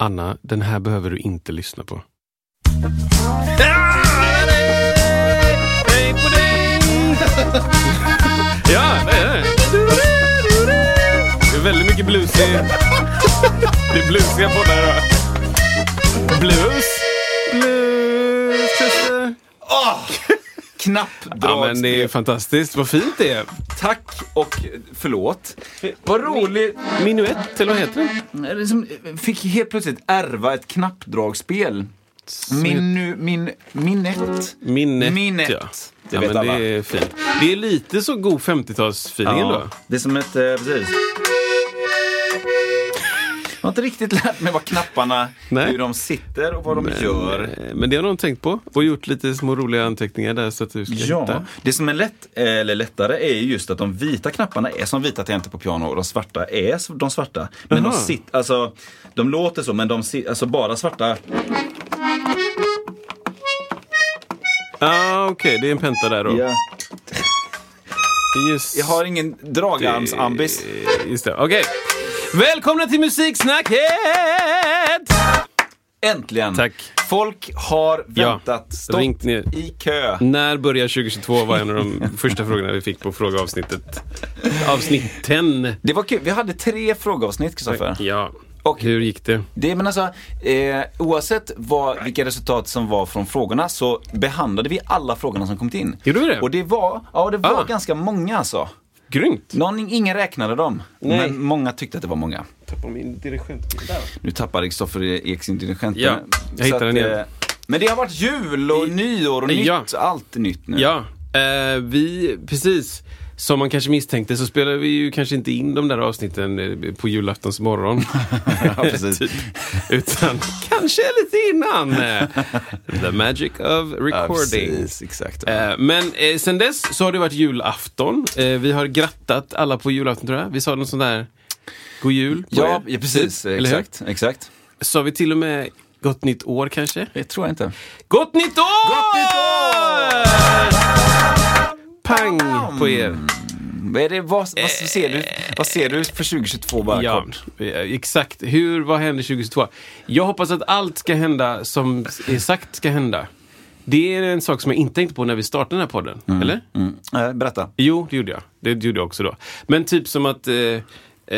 Anna, den här behöver du inte lyssna på. Ja, det är det. Det är väldigt mycket blues i... Det är bluesiga poddar idag. Blues. Blues, Christer. Knappdragspel. Ja, men det är fantastiskt. Vad fint det är. Tack och förlåt. Vad roligt. Minuett, eller vad heter den? Liksom fick helt plötsligt ärva ett knappdragspel. Min, nu- min, minnet. Minnet, Minnet. ja. Det ja, vet men alla. Det är fint. Det är lite så god 50-talsfeeling Ja, då. det är som ett, eh, precis. Jag har inte riktigt lärt mig vad knapparna, Nej. hur de sitter och vad de gör. Eh, Men det har någon tänkt på och gjort lite små roliga anteckningar där så att du ska Ja, hitta. det som är lätt, eh, eller lättare är ju just att de vita knapparna är som vita tangenter på piano och de svarta är s- de svarta. Men de Jaha. sitter, alltså de låter så men de sitter, alltså bara svarta. Ah, Okej, det är en penta där då. Ja. Just Jag har ingen dragarmsambis. det. Just det. Okej. Välkomna till Musiksnacket! Äntligen! Tack. Folk har väntat, stått ringt ner. i kö. När börjar 2022 var en av de första frågorna vi fick på frågeavsnittet. Avsnitten. Det var kul, vi hade tre frågeavsnitt Kristoffer. Ja. Och- Hur gick det? Det, men alltså, eh, oavsett vad, vilka resultat som var från frågorna så behandlade vi alla frågorna som kommit in. Gjorde vi det? Och det var, ja det var Ah. ganska många alltså. Grymt. Någon, ingen räknade dem, Nej. men många tyckte att det var många. Tappade min Mm, dirigent. Nu tappade Kristoffer Ek sin dirigent. Ja, jag Så hittade att, den igen. eh, Men det har varit jul och nyår och Ja. nytt. Allt är nytt nu. Ja, eh, vi, precis. Som man kanske misstänkte så spelar vi ju kanske inte in de där avsnitten eh, på julaftons morgon. Typ. Ja, precis. Utan kanske lite innan. eh, The magic of Ja, recording. precis, exakt. Eh, Men eh, sen dess så har det varit julafton. Eh, Vi har grattat alla på julafton tror jag. Vi sa någon sån där God Jul på ja, er. ja, precis. Eller hur? Exakt, exakt. Sa vi till och med Gott Nytt År kanske? Det tror jag inte. Gott Nytt År! Gott Nytt Pang på er. Mm. Vad, är det, vad, vad, ser du, vad ser du för 2022 bara Ja, kort? eh, exakt. Hur, vad händer 2022? Jag hoppas att allt ska hända som är sagt ska hända. Det är en sak som jag inte tänkte på när vi startade den här podden. Eller? Mm. Eh, berätta. Jo, det gjorde jag. Det gjorde jag också då. Men typ som att, eh,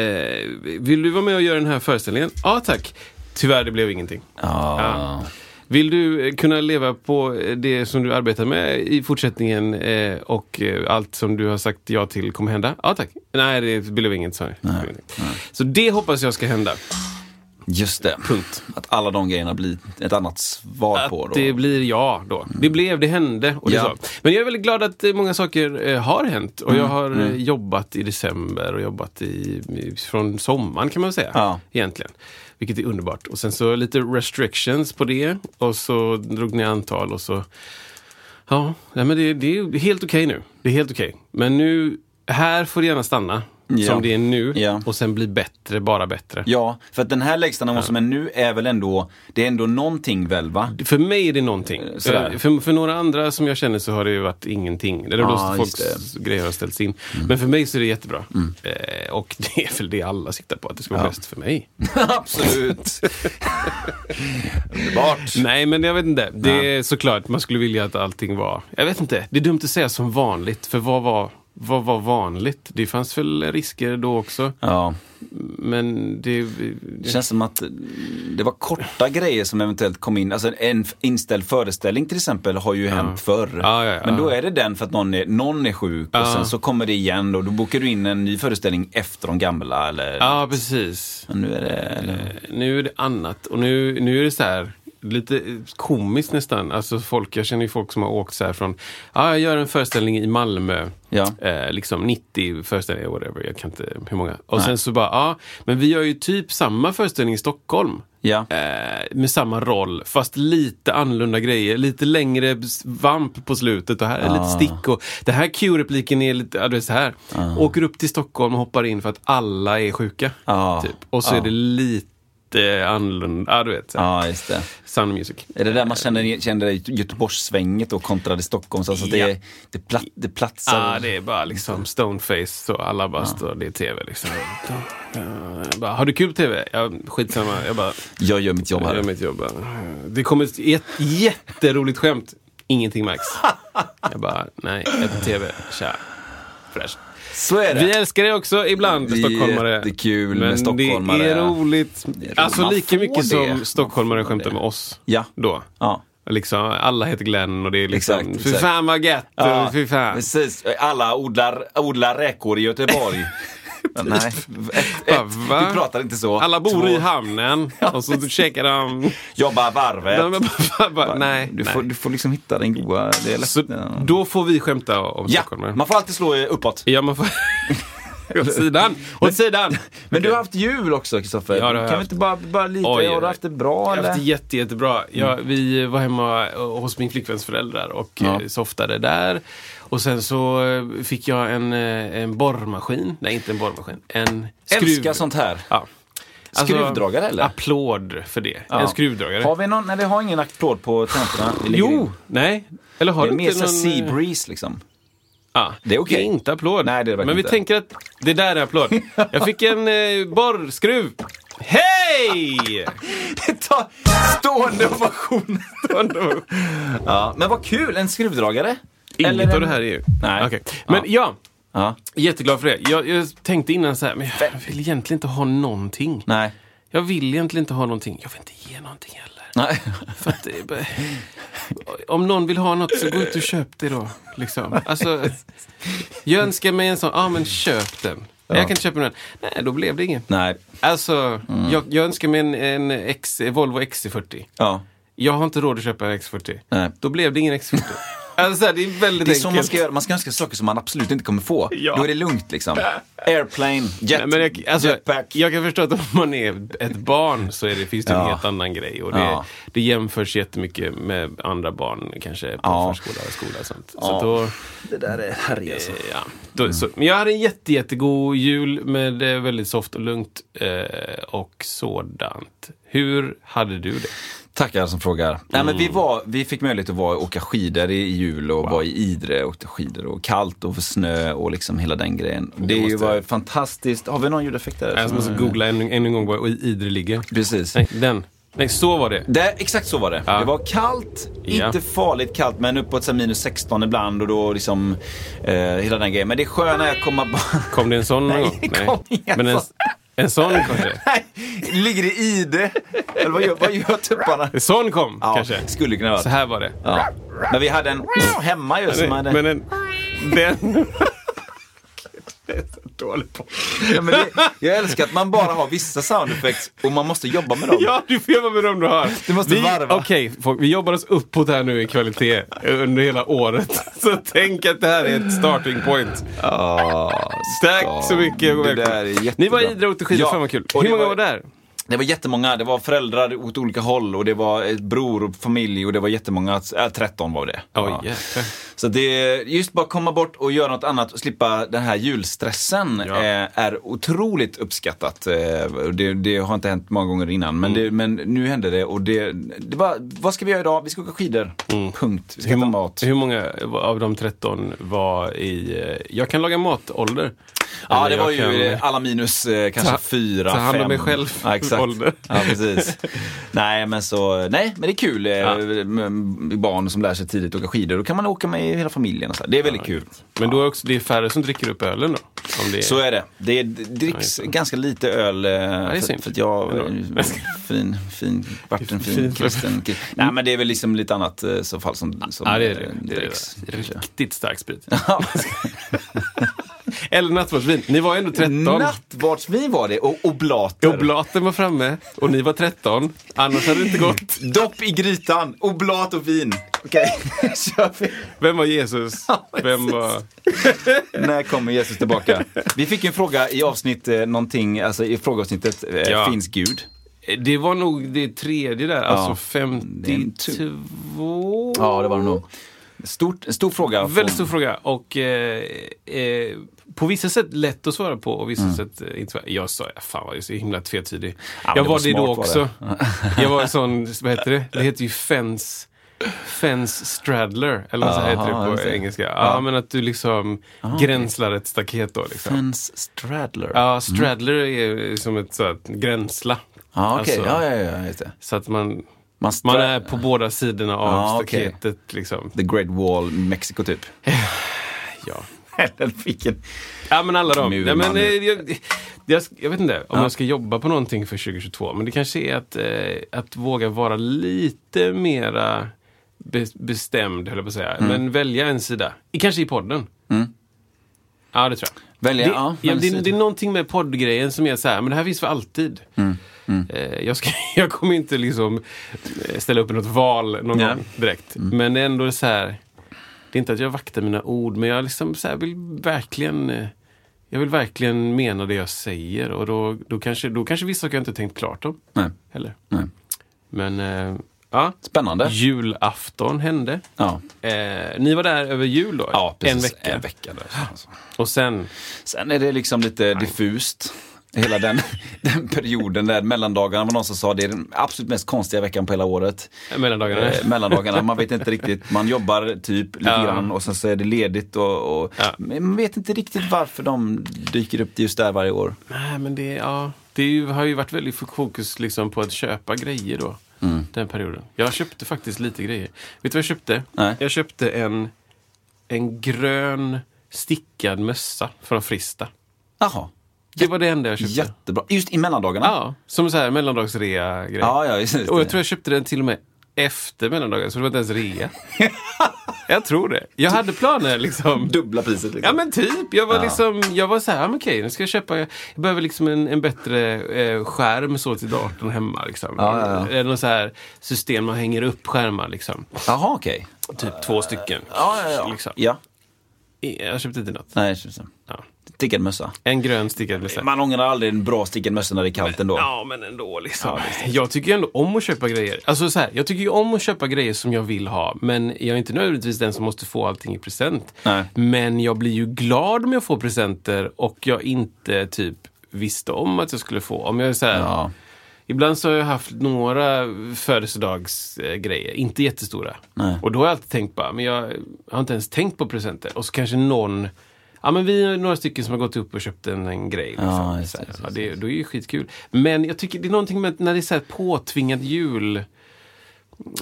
eh, vill du vara med och göra den här föreställningen? Ja, tack. Tyvärr, det blev ingenting. Ja. Vill du eh, kunna leva på eh, det som du arbetar med i fortsättningen eh, och eh, allt som du har sagt ja till kommer hända? Ja, tack. Nej, det blev inget. Sorry. Så det hoppas jag ska hända. Just det. Punkt. Att alla de grejerna blir ett annat svar på. Att Då. det blir ja då. Det blev, det hände och det Ja. så. Men jag är väldigt glad att eh, många saker eh, har hänt. Och Mm, jag har eh, jobbat i december och jobbat i, i, från sommaren kan man säga. Ja. Egentligen. Vilket är underbart. Och sen så lite restrictions på det. Och så drog ni antal och så Ja, nej, men det, det är helt okej nu. Det är helt okej. Men nu, här får det gärna stanna. Ja. Som det är nu. Ja. Och sen bli bättre, bara bättre. Ja, för att den här lägsta nivån som är nu är väl ändå, det är ändå någonting väl va? För mig är det någonting. sådär. Eh, För, för några andra som jag känner så har det ju varit ingenting. Eller Ja, ah, just Mm. folks grejer har ställts in. Men för mig så är det jättebra. Eh, och det är väl det alla siktar på, att det ska vara bäst för mig. Absolut. Underbart. Nej, men jag vet inte. Det är såklart, man skulle vilja att allting var... Jag vet inte, det är dumt att säga som vanligt. För vad var, vad var vanligt? Det fanns väl risker då också. Ja, Men det... det känns som att det var korta grejer som eventuellt kom in. Alltså en f- inställd föreställning till exempel har ju hänt förr. Ja, ja, ja. Men då är det den för att någon är, någon är sjuk och sen så kommer det igen och då bokar du in en ny föreställning efter de gamla eller Ja, precis. Eh, Men nu är det... Eller... Nu är det annat. Och nu, nu är det så här... lite komiskt nästan. Alltså folk, jag känner ju folk som har åkt så här från, ja ah, jag gör en föreställning i Malmö, Ja. eh, liksom 90 föreställningar, whatever, jag kan inte hur många. Och sen så bara, ja, ah, men vi gör ju typ samma föreställning i Stockholm. Ja. Eh, med samma roll, fast lite annorlunda grejer. Lite längre s- vamp på slutet och här är Ah. lite stick. Och, det här Q-repliken är lite, ja, du vet så här. Ah. Åker upp till Stockholm och hoppar in för att alla är sjuka. Ja. Typ. Och Ah. så är det lite annorlunda, ja, du vet. Så här. Ja, just det. Sound of Music. Ah. Är det där man känner, känner det i Göteborgssvänget och kontra det Stockholms? Alltså att det, Ja. det, plat, det platsar. Ja, ah, det är bara liksom stoneface så alla Ah. bara står, det är tv liksom. Jag Bara, har du kul tv? Ja, skitsamma, jag bara, Jag gör mitt jobb jag här. gör mitt jobb. bara. Det kommer ett jät- jätteroligt skämt, ingenting märks. Jag bara, nej, ett tv, tja, fräscht. Så är det. Vi älskar det också ibland, Det är stockholmare. jättekul med men stockholmare. det är roligt. är roligt. Alltså Man lika får mycket det. som Man stockholmare får skämtar det. med oss. Ja. Då. Ja. Liksom, alla heter Glenn och det är liksom, Exakt, fy exakt. fan vad gött, Ja, och fy fan. Precis. Alla odlar, odlar räkor i Göteborg. Nej, ett, Bara, ett, va? vi pratar inte så. Alla bor Två, i hamnen och så käkar de... Jobbar varvet. de bara, bara, nej. du, nej. Får, du får liksom hitta den goa... Det är lätt. Så då får vi skämta om ja, stockholmare. man får alltid slå eh, uppåt. Ja, man får... Åt sidan! Åt sidan! Men du har haft jul också, Kristoffer. Ja, det har jag kan vi haft. inte bara, bara lite... Oj, har oj, oj. du haft det bra, Jag har eller? Mm. haft det jätte, jättebra. Jag, vi var hemma eh, hos min flickväns föräldrar och Ja. eh, softade där. Och sen så eh, fick jag en, eh, en borrmaskin. Nej, inte en borrmaskin. En skruv. Älskar sånt här. Ja. Alltså, Skruvdragare, eller? Applåd för det. Ja. En skruvdragare. Har vi någon... Nej, vi har ingen applåd på tentorna. Vi lägger in. Jo! Nej. Eller har Det är du mer inte så någon... sea eh, breeze, liksom. Ja, Det är okej. inte applåd. Nej, det är verkligen Men vi inte. tänker att det där är applåd. Jag fick en eh, borrskruv. Hej! Ta stående ovation. Ja, men vad kul! En skruvdragare. Inget Eller en- av det här är ju... Nej. Okej. Men ja. Ja. jätteglad för det. Jag, jag tänkte innan så här, men jag vill egentligen inte ha någonting. Nej. Jag vill egentligen inte ha någonting. Jag vill inte ge någonting heller. Nej. För att det är bara... Om någon vill ha något så gå ut och köp det då. Liksom. Alltså, jag önskar mig en sån, ja ah, men köp den. Jag kan inte köpa den. Nej, då blev det ingen. Nej. Alltså, Mm. jag, jag önskar mig en, en X, Volvo XC40. Ja. Jag har inte råd att köpa en X40. Nej. Då blev det ingen X40. alltså, det är väldigt Det är enkelt. så man ska göra. Man ska önska saker som man absolut inte kommer få. Ja. Då är det lugnt liksom. Airplane, Nej, jet, men jag, alltså, jetpack. jag kan förstå att om man är ett barn så är det, finns det en Ja. helt annan grej. Och det, Ja. det jämförs jättemycket med andra barn kanske på Ja. förskola och skola och sånt. Så då, Det där är herre alltså. Eh, Ja. Då, så, men jag hade en jätte, jättegod jul med eh, väldigt soft och lugnt eh, och sådant. Hur hade du det? Tackar som frågar. Nej, men Mm. vi, var, vi fick möjlighet att vara, åka skidor i i jul och vara i Idre och åkte skidor och kallt och snö och liksom hela den grejen. Det, måste- ju var fantastiskt. Har vi någon ljudeffekt där? Mm. Jag måste googla ännu en, en gång var Idre ligger. Precis. Nej, den. Nej, så var det. Det, exakt så var det. Ja. Det var kallt, Ja. inte farligt kallt, men uppåt så här minus 16 ibland och då liksom eh, hela den grejen. Men det sköna är att komma bara... Kom det en sån någon Nej, gång? det kom ingen Men en, sån. en sån kanske? Nej, ligger det i det? Eller vad gör, vad gör tupparna? En sån kom Ja, kanske? skulle kunna vara. Så här var det. Ja. Men vi hade en hemma just som Nej, hade... men en, den... Dålig på. Ja, men det, jag älskar att man bara har vissa sound effects och man måste jobba med dem. Ja, du får jobba med dem du har. Du måste vi, varva. Okej, folk, vi jobbar oss uppåt här nu i kvalitet under hela året. Så tänk att det här är ett starting point. Ja, Tack så mycket. och Det välkommen. där är jättebra. Ni var i Idre och åkte skidor, Ja, fan vad kul. och Hur det många var var- där? Det var jättemånga, det var föräldrar åt olika håll och det var ett bror och familj och det var jättemånga, äh, 13 var det. Oj, jäklar. Så det, just bara komma bort och göra något annat och slippa den här julstressen Ja. eh, är otroligt uppskattat. Eh, och det, det har inte hänt många gånger innan Mm. men, det, men nu hände det och det, det var, vad ska vi göra idag? Vi ska åka skidor. Punkt. Vi ska äta mat. Mm. Hur många av de 13 var i... eh, Jag kan laga mat-ålder. Ja, Eller det var jag ju kan- alla minus eh, kanske Ta- fyra, ta hand om fem. mig själv. Ja, exakt. Ålder. Ja, precis. nej, men så, nej, men det är kul. eh, med Barn som lär sig tidigt att åka skidor. Då kan man åka med hela familjen och så. här. Det är väldigt kul. Men då är också, det är färre som dricker upp ölen då? Om det är... Så är det. Det är- dricks ganska lite öl. eh, är för, synd. för att jag Ändå. eh, fin, fin, vart en fin Fin- Mm. kristen kille. Nej, men det är väl liksom lite annat eh, så fall som, som Ja, det är eh, det. det, är dricks. det. Riktigt stark sprit. Ja. Eller nattvardsvin. Ni var ju ändå 13. Nattvardsvin var det och oblater. Oblaten var framme och ni var 13. Annars hade det inte gått. Dopp i grytan, oblat och vin. Okej, kör vi. Vem var Jesus? Vem var... När kommer Jesus tillbaka? Vi fick en fråga i avsnitt eh, någonting, alltså i frågeavsnittet, eh, Ja. finns Gud? Det var nog det tredje där. Alltså det är en tu- 52. Ja, det var det nog. Stort, stor fråga. Väldigt stor fråga och eh, eh, på vissa sätt lätt att svara på och vissa Mm. sätt eh, inte. svara. Jag sa, fan vad jag är så himla tvetydig. men jag var det var det då smart, var också. jag var en sån, vad heter det? Det heter ju fence, fence straddler, eller vad så heter Aha, det just på det. engelska. Ja, men att du liksom gränslar ett staket då liksom. Hans Stradler. Ja, Ja, straddler är ju som ett sånt gränsla. ah, okej. Alltså, Ja, ja, ja, just det. Så att man, Man stra- man är på båda sidorna av Ja, okej. staketet liksom. The Great Wall, Mexiko typ. Ja. Eller vilken... Ja men alla de. Mur, Ja, men, man. eh, jag, jag, jag vet inte om jag ska jobba på någonting för 2022. Men det kanske är att, eh, att våga vara lite mera be, bestämd, höll jag på att säga. Mm. Men välja en sida. I- Kanske i podden. Ja, det tror jag. Välja, det, ja, ja, men det, så- det är någonting med poddgrejen som är så här, men det här finns för alltid. Mm. Eh, Jag, ska, jag kommer inte liksom eh, ställa upp i något val någon Nej. gång direkt. Mm. Men det är ändå så här, det är inte att jag vaktar mina ord, men jag liksom så här vill verkligen eh, jag vill verkligen mena det jag säger och då, då, kanske, då kanske vissa saker jag inte tänkt klart om. Nej. Heller. Nej. Men eh, ja, Spännande. julafton hände. Ja. Eh, ni var där över jul då? Ja, precis. En vecka. En vecka där. Alltså. Och sen, Sen är det liksom lite diffust. Hela den, den perioden där mellandagarna var någon som sa det är den absolut mest konstiga veckan på hela året. eh, mellandagarna. Eh, mellandagarna, man vet inte riktigt. Man jobbar typ lite grann och sen så är det ledigt och, och Ja. men man vet inte riktigt varför de dyker upp just där varje år. Nej, men det, ja, det är ju, har ju varit väldigt fokus liksom, på att köpa grejer då. Mm. Den perioden. Jag köpte faktiskt lite grejer. Vet du vad jag köpte? Nej. Jag köpte en, en grön stickad mössa från Frista. Jaha, Det var det enda Typ jag köpte. jättebra. Just i mellandagarna? Ja, som så här mellandagsrea-grej. ja, ja just det. Och jag tror jag köpte den till och med efter mellandagen, så det var inte ens rea. jag tror det. Jag hade planer liksom. Dubbla priset liksom. Ja men typ. Jag var liksom, jag var så här, "Ja, men okej nu ska jag köpa, jag behöver liksom en, en bättre eh, skärm så till datorn hemma liksom. Ja, ja, Eller något så här system man hänger upp skärmar liksom. Jaha, okej. Typ två stycken. Ja, ja, ja. Liksom. ja. Jag köpte inte något. Nej, just det. Ja. Stickad mössa. En grön stickad med så här- Man ångrar aldrig en bra stickad mössa när det är kallt ändå. Ja, men ändå liksom. jag tycker ju ändå om att köpa grejer. Alltså så här, jag tycker ju om att köpa grejer som jag vill ha, men jag är inte nödvändigtvis den som måste få allting i present. Nej. Men jag blir ju glad om jag får presenter och jag inte typ visste om att jag skulle få. Om jag är så här, Ja. Ibland så har jag haft några födelsedagsgrejer, inte jättestora. Och då har jag alltid tänkt bara, men jag har inte ens tänkt på presenter. Och så kanske någon, ja men vi är några stycken som har gått upp och köpt en, en grej. Liksom. Ja, just det, Så här, just ja, det, då är det ju skitkul. Men jag tycker det är någonting med att när det är så här påtvingat jul.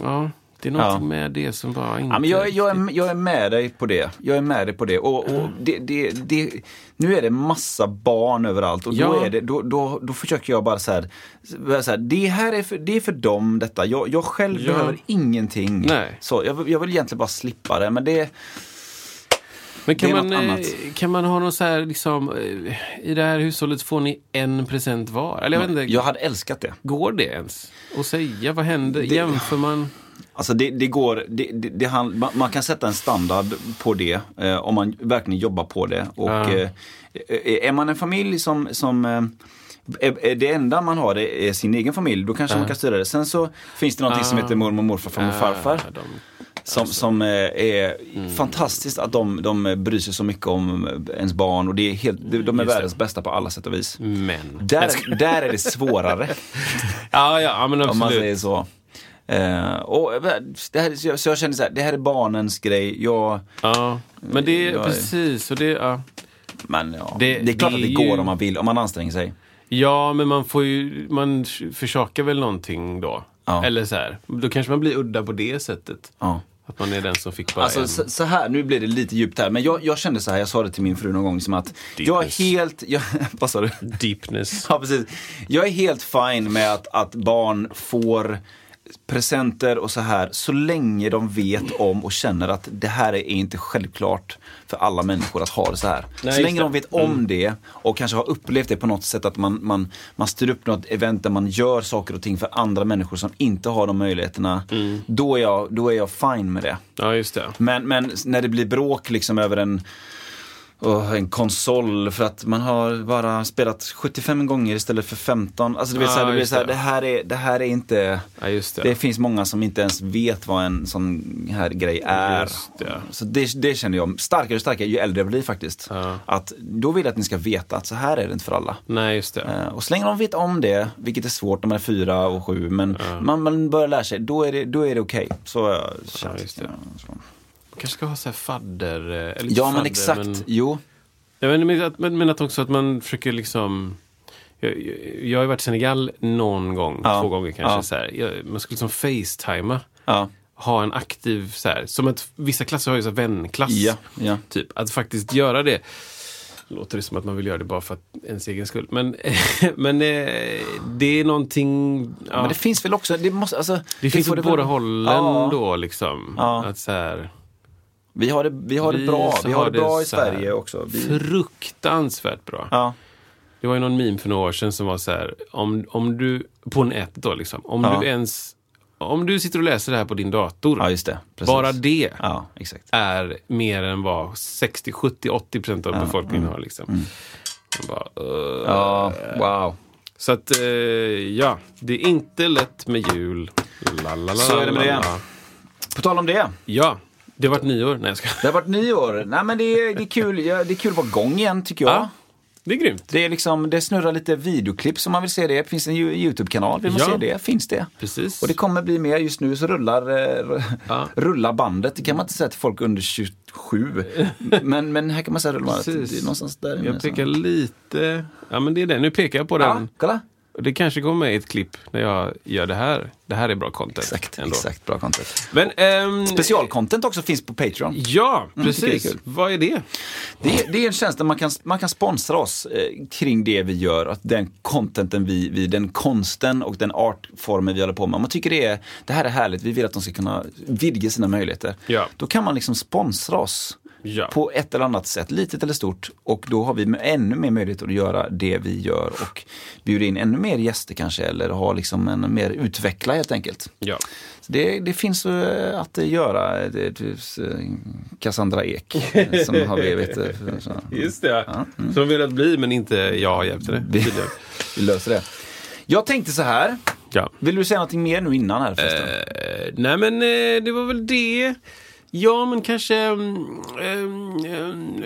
Ja, det är någonting Ja. med det som bara inte... Ja, men jag, jag, är, jag är med dig på det. Jag är med dig på det. Och, Mm. och det, det, det nu är det massa barn överallt och då, Ja. är det, då, då, då försöker jag bara så här, bara så här det här är för, det är för dem detta. Jag, jag själv Ja. behöver ingenting. Nej. Så jag, vill- jag vill egentligen bara slippa det, men det... Men kan Det är man, något eh, annat. kan man ha någon så här liksom, eh, i det här hushållet får ni en present var? Eller jag vet inte, Jag hade älskat det. går det ens? Och säga, vad händer? Det- Jämför man? Alltså det, det går, det, det, det hand, man, man kan sätta en standard på det eh, om man verkligen jobbar på det. Och, Ja. eh, är man en familj som, som eh, är- är det enda man har det är sin egen familj, då kanske man kan styra det. Sen så finns det någonting som Ja. heter mormor, morfar, farmor, farfar. Ja, de- alltså. Mm. Som, som eh, är fantastiskt att de, de bryr sig så mycket om ens barn och det är helt, de de är Just det. världens bästa på alla sätt och vis. Men. Där, där är det svårare. Ja, ja, ja, men Om man absolut. säger så. Eh, och eh, det här, så, jag, så jag känner så här, det här är barnens grej. Jag, Ja, men det är Jag är- precis. Och det, ja. men ja, Det- det, är klart det att det är går ju- om man vill, om man anstränger sig. ja, men man får ju, man försakar väl någonting då. Ja. Eller så här, då kanske man blir udda på det sättet. Ja. Att man är den som fick bara Alltså en. så, så här, nu blir det lite djupt här, men jag, jag kände så här, jag sa det till min fru någon gång, som att jag är helt, jag, vad sa du? Deepness. Ja, precis. Jag är helt fine med att, att barn får presenter och så här, så länge de vet om och känner att det här är inte självklart för alla människor att ha det så här. Nej, så just länge det. Mm. de vet om det och kanske har upplevt det på något sätt att man, man, man styr upp något event där man gör saker och ting för andra människor som inte har de möjligheterna. Mm. Då, är jag, då är jag fine med det. Ja, just det. Men, men när det blir bråk liksom över en, åh, en konsol för att man har bara spelat 75 gånger istället för 15. Alltså du vet, Ja, så här, det, blir Ah, just så här, det. det, här är, det här är inte... Ja, just det. Det finns många som inte ens vet vad en sån här grej är. Just det. Så det, det känner jag starkare och starkare ju äldre jag blir faktiskt. Ja. Att då vill jag att ni ska veta att så här är det inte för alla. Nej, just det. Eh, Och så länge de vet om det, vilket är svårt när man är fyra och sju, men man, man börjar lära sig, då är det, då är det okej. Så har jag känt. just det. så. kanske ska ha så här fadder... eh, Eller inte Ja, men fadder, exakt. men- Jo. Jag vet, inte, men, att, men, men att också att man försöker liksom... Jag, jag, jag har ju varit i Senegal någon gång, Ja. två gånger kanske. Ja. Så här. Jag, man skulle liksom facetima. Ja. Ha en aktiv, så här, som att vissa klasser har ju så här vänklass. Ja, ja. Typ. Att faktiskt göra det. Låter det som att man vill göra det bara för att ens egen skull. Men, men eh, det är någonting... Ja, Men det, det finns väl också, det måste, alltså. finns får åt väl- båda hållen Ja. då liksom. Ja. Att så här, Vi har det, vi har det bra, så vi har det bra i så här Sverige också. Vi, Fruktansvärt bra. ja. Det var ju någon meme för några år sedan som var så här, om, om du, på en ett då liksom, om Ja. du ens, om du sitter och läser det här på din dator, ja, just det. Precis. bara det Ja, exakt. är mer än vad 60, 70, 80 procent av befolkningen Mm. har liksom. Man Bara, "Ugh." Ja, wow. Så att, eh, ja, det är inte lätt med jul. La, la, la, Så är det med la, det. la. På tal om det. Ja, det har varit nyår. Nej, jag ska. Det har varit nyår. Nej men det är, det är kul, ja, det är kul att vara igång igen tycker jag. Ja, det är grymt. Det är liksom, det snurrar lite videoklipp som man vill se det. Det finns en Yo- YouTube-kanal, vill man Ja. se det? Finns det? Precis. Och det kommer bli mer. Just nu så rullar, eh, Ja. rullar bandet. Det kan man inte säga till folk under 27. Men, men här kan man säga rullar bandet. Precis. Det är någonstans där inne, Jag så. pekar lite, ja men det är det. Nu pekar jag på Ja, den. kolla. Och Det kanske kommer med i ett klipp när jag gör det här. Det här är bra content. Exakt, ändå. exakt. Bra content. Men, ehm, Specialcontent också finns på Patreon. Ja, Mm, tycker det är precis. kul. Vad är det? Det är, det är en tjänst där man kan, man kan sponsra oss eh, kring det vi gör. Att den contenten vi, vi, den konsten och den artformen vi håller på med. Om man tycker det, är, det här är härligt, vi vill att de ska kunna vidga sina möjligheter. Ja. Då kan man liksom sponsra oss Ja. på ett eller annat sätt, litet eller stort. Och då har vi m- ännu mer möjlighet att göra det vi gör och bjuda in ännu mer gäster kanske. Eller ha liksom en mer utveckla helt enkelt. Ja. Så Det, det finns eh, att göra. Det, det, eh, Cassandra Ek eh, som har blivit... eh, för- så- Just det. mm. Som de velat bli, men inte jag har hjälpt det. Vi, vi löser det. Jag tänkte så här. Ja. Vill du säga någonting mer nu innan här förresten? Eh, nej, men eh, det var väl det. Ja, men kanske... mm, ehm, ehm,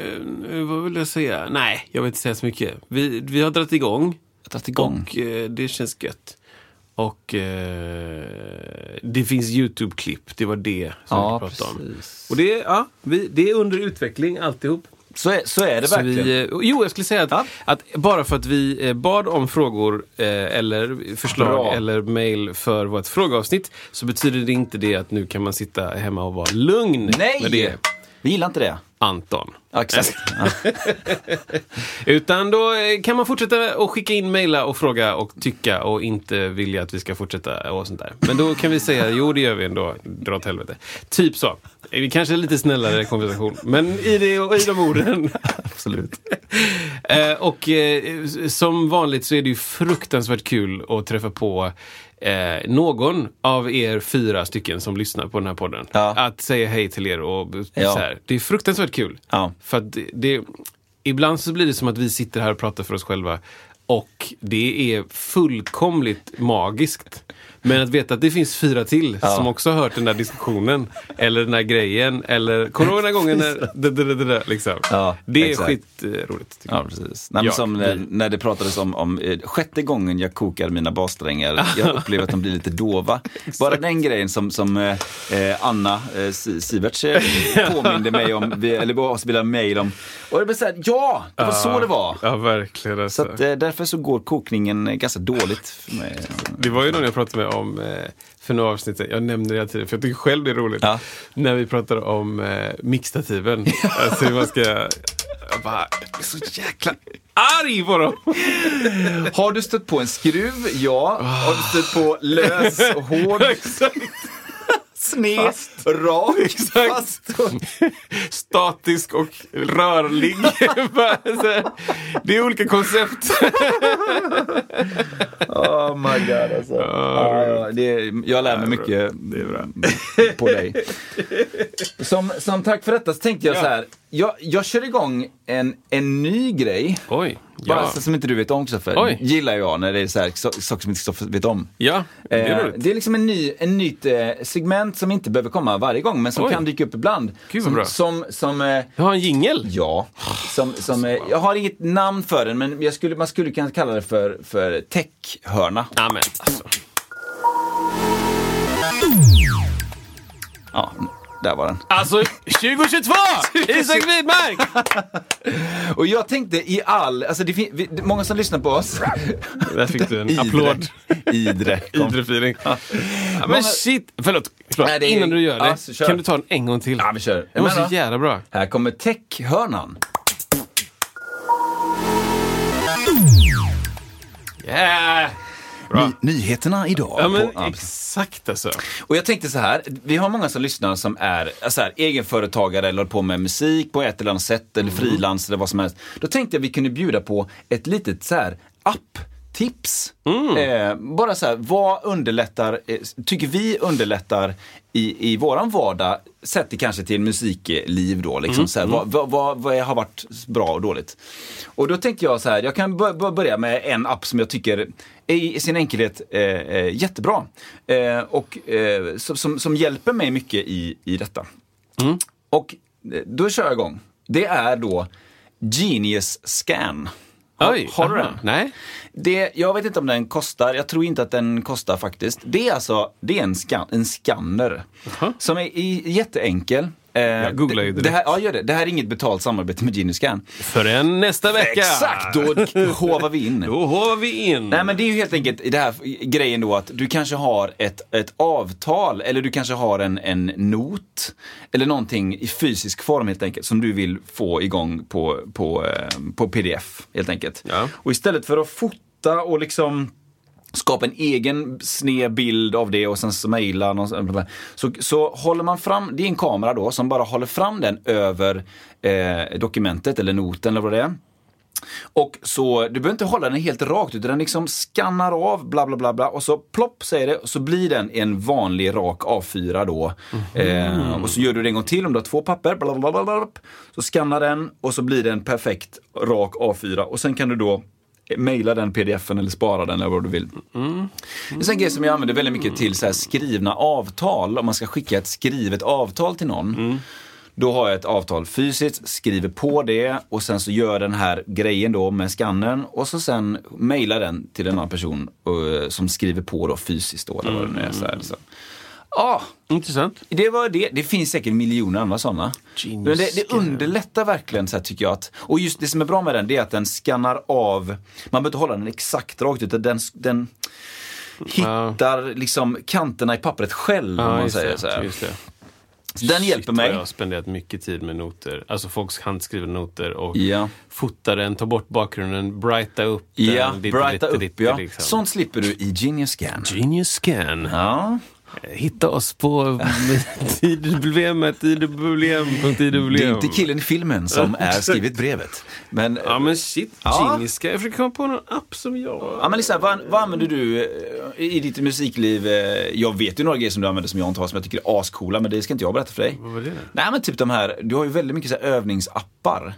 ehm, vad vill jag säga? Nej, jag vill inte säga så mycket. Vi, vi har dragit igång. Jag har dragit igång. Och eh, det känns gött. Och eh, det finns YouTube-klipp. Det var det som Ja, vi pratade om. precis. Och det, är- ja, vi, det är under utveckling alltihop. Så, är, så är det Så verkligen. vi, eh, jo, jag skulle säga att, Ja. att bara för att vi eh, bad om frågor eh, eller förslag Bra. eller mail för vårt frågeavsnitt så betyder det inte det att nu kan man sitta hemma och vara lugn Nej! med eh, det, Vi gillar inte det. Anton. Ja, exakt. Ja. Utan då eh, kan man fortsätta att skicka in, mejla och fråga och tycka och inte vilja att vi ska fortsätta och sånt där. Men då kan vi säga, jo det gör vi ändå, dra åt helvete. Typ så. Eh, Vi kanske är lite snällare konversation, men i, det, och i de orden. Absolut. Eh, och eh, som vanligt så är det ju fruktansvärt kul att träffa på eh, någon av er fyra stycken som lyssnar på den här podden. Ja. Att säga hej till er och b- Ja. så här. Det är fruktansvärt kul. Ja. För att det, det, ibland så blir det som att vi sitter här och pratar för oss själva och det är fullkomligt magiskt. Men att veta att det finns fyra till som också har hört den där diskussionen, eller den där grejen, eller kommer du ihåg den där gången när... Det, det, det, det, liksom. Ja, det är exakt. skitroligt. tycker Ja, jag. precis. Nej, men Ja, som vi- när, när det pratades om, om eh, sjätte gången jag kokar mina bassträngar. Jag upplever att de blir lite dova. Bara den grejen som, som eh, eh, Anna eh, Si- Siverts eh, påminde mig om, vi- eller gav oss via mejl om. Och det blev så här, ja, det var så det var. Ja, verkligen. Alltså. Så att, eh, därför så går kokningen eh, ganska dåligt för mig. Det var ju någon jag pratade med om eh, för några avsnitt sedan. Jag nämner det hela tiden, för jag tycker själv det är roligt. Ja. När vi pratade om eh, mixtativen. alltså hur man ska Jag bara, jag blir så jäkla arg på dem. Har du stött på en skruv? Ja. Har du stött på lös, hård, Exakt. sned, rak, Exakt. fast? och- Statisk och rörlig. Bara så här, det är olika koncept. Oh my god alltså. Ja, ja, det, är- jag lär mig mycket på dig. Som, som tack för detta så tänkte jag Ja. så här. Jag, jag kör igång en, en ny grej. Oj, Bara ja. så, som inte du vet om Kristoffer. Oj. Gillar jag när det är så här, so- saker som inte Kristoffer vet om. Ja, det är Eh, roligt. det är liksom en ny, en nytt eh, segment som inte behöver komma varje gång men som Oj. kan dyka upp ibland. Gud, vad som, bra. som, som eh, Jag har en jingel. Ja, som, som, eh, jag har inget namn för den men jag skulle, man skulle kunna kalla det för, för techhörna. Ja, men alltså. Ja, där var den. Alltså, 2022! Isak Widmark! Och jag tänkte i all, alltså det fin- vi, det- många som lyssnar på oss. Där fick du en applåd. Idre. kom. Idre-feeling. Ja, men Många- shit! Förlåt, förlåt. Nej, det är- innan du gör det, Ja, så kör. kan du ta den en gång till? Ja, vi kör. Det var så Men då. jävla bra. Här kommer techhörnan. Yeah! Bra. Ny, nyheterna idag. Ja, På- men ja, precis. exakt alltså. Och jag tänkte så här, vi har många som lyssnar som är ja, så här, egenföretagare eller håller på med musik på ett eller annat sätt eller Mm. frilans eller vad som helst. Då tänkte jag vi kunde bjuda på ett litet så här apptips. Mm. Eh, bara så här, vad underlättar, eh, tycker vi underlättar i, i våran vardag, sett det kanske till musikliv då, liksom, Mm. så här, vad, vad, vad, vad har varit bra och dåligt? Och då tänkte jag så här, jag kan bör- bör- börja med en app som jag tycker är i sin enkelhet eh, eh, jättebra. Eh, och eh, som, som, som hjälper mig mycket i, i detta. Mm. Och eh, då kör jag igång. Det är då Genius Scan. Har- Oj, har du aha. den? Nej. Det, jag vet inte om den kostar, jag tror inte att den kostar faktiskt. Det är alltså, det är en, skan, en skanner. Som är i, jätteenkel. Eh, jag googlar ju det, det direkt. här, Ja, gör det. Det här är inget betalt samarbete med Genius Scan. Förrän nästa vecka. Exakt, då hovar vi in. Då hovar vi in. Nej men det är ju helt enkelt i det här grejen då att du kanske har ett, ett avtal eller du kanske har en, en not eller någonting i fysisk form helt enkelt som du vill få igång på, på, eh, på pdf helt enkelt. Ja. Och istället för att fota och liksom skapa en egen sned bild av det och sen så mejla någon- så, så håller man fram, det är en kamera då som bara håller fram den över eh, dokumentet eller noten eller vad det är. Och så, du behöver inte hålla den helt rakt utan den liksom skannar av bla bla bla bla och så plopp säger det och så blir den en vanlig rak A4 då. Eh, och så gör du det en gång till om du har två papper. Bla bla bla bla, bla. Så skannar den och så blir det en perfekt rak A4 och sen kan du då eh, mejla den pdf-en eller spara den eller vad du vill. Det är så en grej som jag använder väldigt mycket till så här skrivna avtal. Om man ska skicka ett skrivet avtal till någon. Då har jag ett avtal fysiskt, skriver på det och sen så gör den här grejen då med skannen och så sen mejlar den till en annan person eh, som skriver på då fysiskt då eller vad det nu är. Så här, så. Ja, Intressant. det var det. Det finns säkert miljoner andra sådana. Genius Men det, det underlättar verkligen så här tycker jag. Att, och just det som är bra med den det är att den skannar av, man behöver inte hålla den exakt rakt utan den, den hittar liksom kanterna i pappret själv om man just säger det, så här. Just det. Så Den hjälper Shit, vad mig. Jag har spenderat mycket tid med noter. Alltså folks handskrivna noter och Ja. fota den, ta bort bakgrunden, brighta upp den. Ja, lite, brighta lite, upp lite, ja. liksom. Sånt slipper du i Genius Scan. Genius Scan. Ja. Hitta oss på tidwm.idwm.idwm. Det är inte killen i filmen som är skrivit brevet. Men, Ja men shit, Ja. Genius Scan. Jag försöker komma på någon app som jag... Ja, men Lisa, vad, vad använder du eh, i ditt musikliv? eh, Jag vet ju några grejer som du använder som jag inte har som jag tycker är ascoola men det ska inte jag berätta för dig. Vad var det? Nej men typ de här, du har ju väldigt mycket så här övningsappar.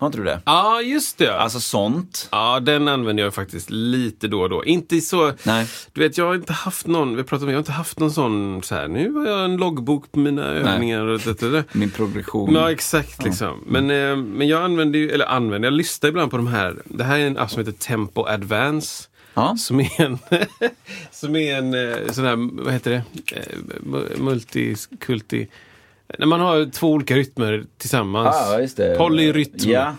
Har inte du det? Ja, just det. Alltså sånt. Ja, den använder jag faktiskt lite då och då. Inte i så... Nej. Du vet, jag har inte haft någon, vi pratade om, jag har inte haft någon sån så här, nu har jag en loggbok på mina övningar och det, det, det. Min progression. Ja, exakt liksom. Mm. Men, eh, men jag använder ju, eller använder, jag lyssnar ibland på de här. Det här är en app som heter Tempo Advance. Ja. Som är en, som är en eh, sån här, vad heter det, Eh, mu- multikulti. När man har två olika rytmer tillsammans. Ja, Ah, just det. Polyrytm. Ja.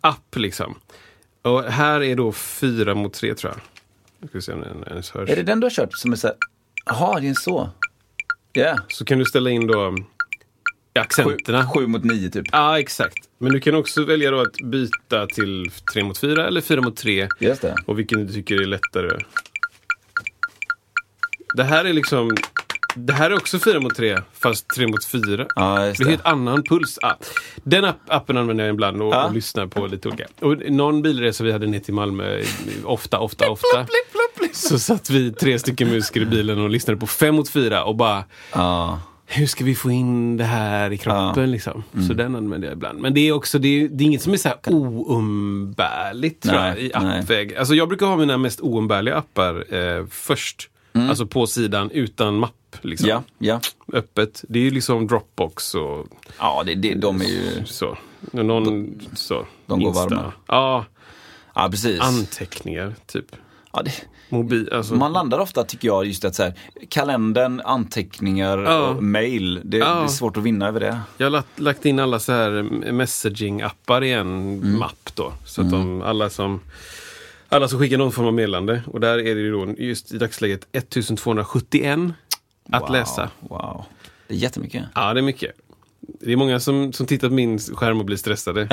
App liksom. Och här är då fyra mot tre tror jag. Nu ska vi se om den ens hörs. Är det den du har kört som är så här, jaha det är en så? Ja. Så kan du ställa in då accenterna. Sju, sju mot nio typ. Ja, exakt. Men du kan också välja då att byta till 3 mot 4 eller 4 mot 3. Just det. Och vilken du tycker är lättare. Det här är liksom... Det här är också 4 mot 3, fast 3 mot 4. Ja, just det är det. helt annan puls. Ah, den app, appen använder jag ibland och, Ja. och lyssnar på lite olika. Och någon bilresa vi hade ner till Malmö, ofta, ofta, ofta. Så satt vi tre stycken musiker i bilen och lyssnade på 5 mot 4 och bara Ja. hur ska vi få in det här i kroppen liksom? Mm. Så den använder jag ibland. Men det är också, det är, det är inget som är så här oumbärligt tror jag, Nej, i nej. appväg. Alltså jag brukar ha mina mest oumbärliga appar eh, först. Alltså på sidan utan mapp. Liksom. Mm. Ja, ja. Öppet. Det är ju liksom Dropbox och ja det, det, de är ju... så. Någon, så. de går Insta. varma. Ja, Ja, precis. anteckningar typ. Ja, det, Mobil, alltså. man landar ofta, tycker jag, just att så här, kalendern, anteckningar, Ja. och mail. Det, det Ja. är svårt att vinna över det. Jag har lagt, lagt in alla så här messaging-appar i en Mm. mapp då. Så att de, alla som alla som skickar någon form av meddelande. Och där är det ju då just i dagsläget 1271 att Wow, läsa. Wow. Det är jättemycket. Ja, det är mycket. Det är många som, som tittar på min skärm och blir stressade.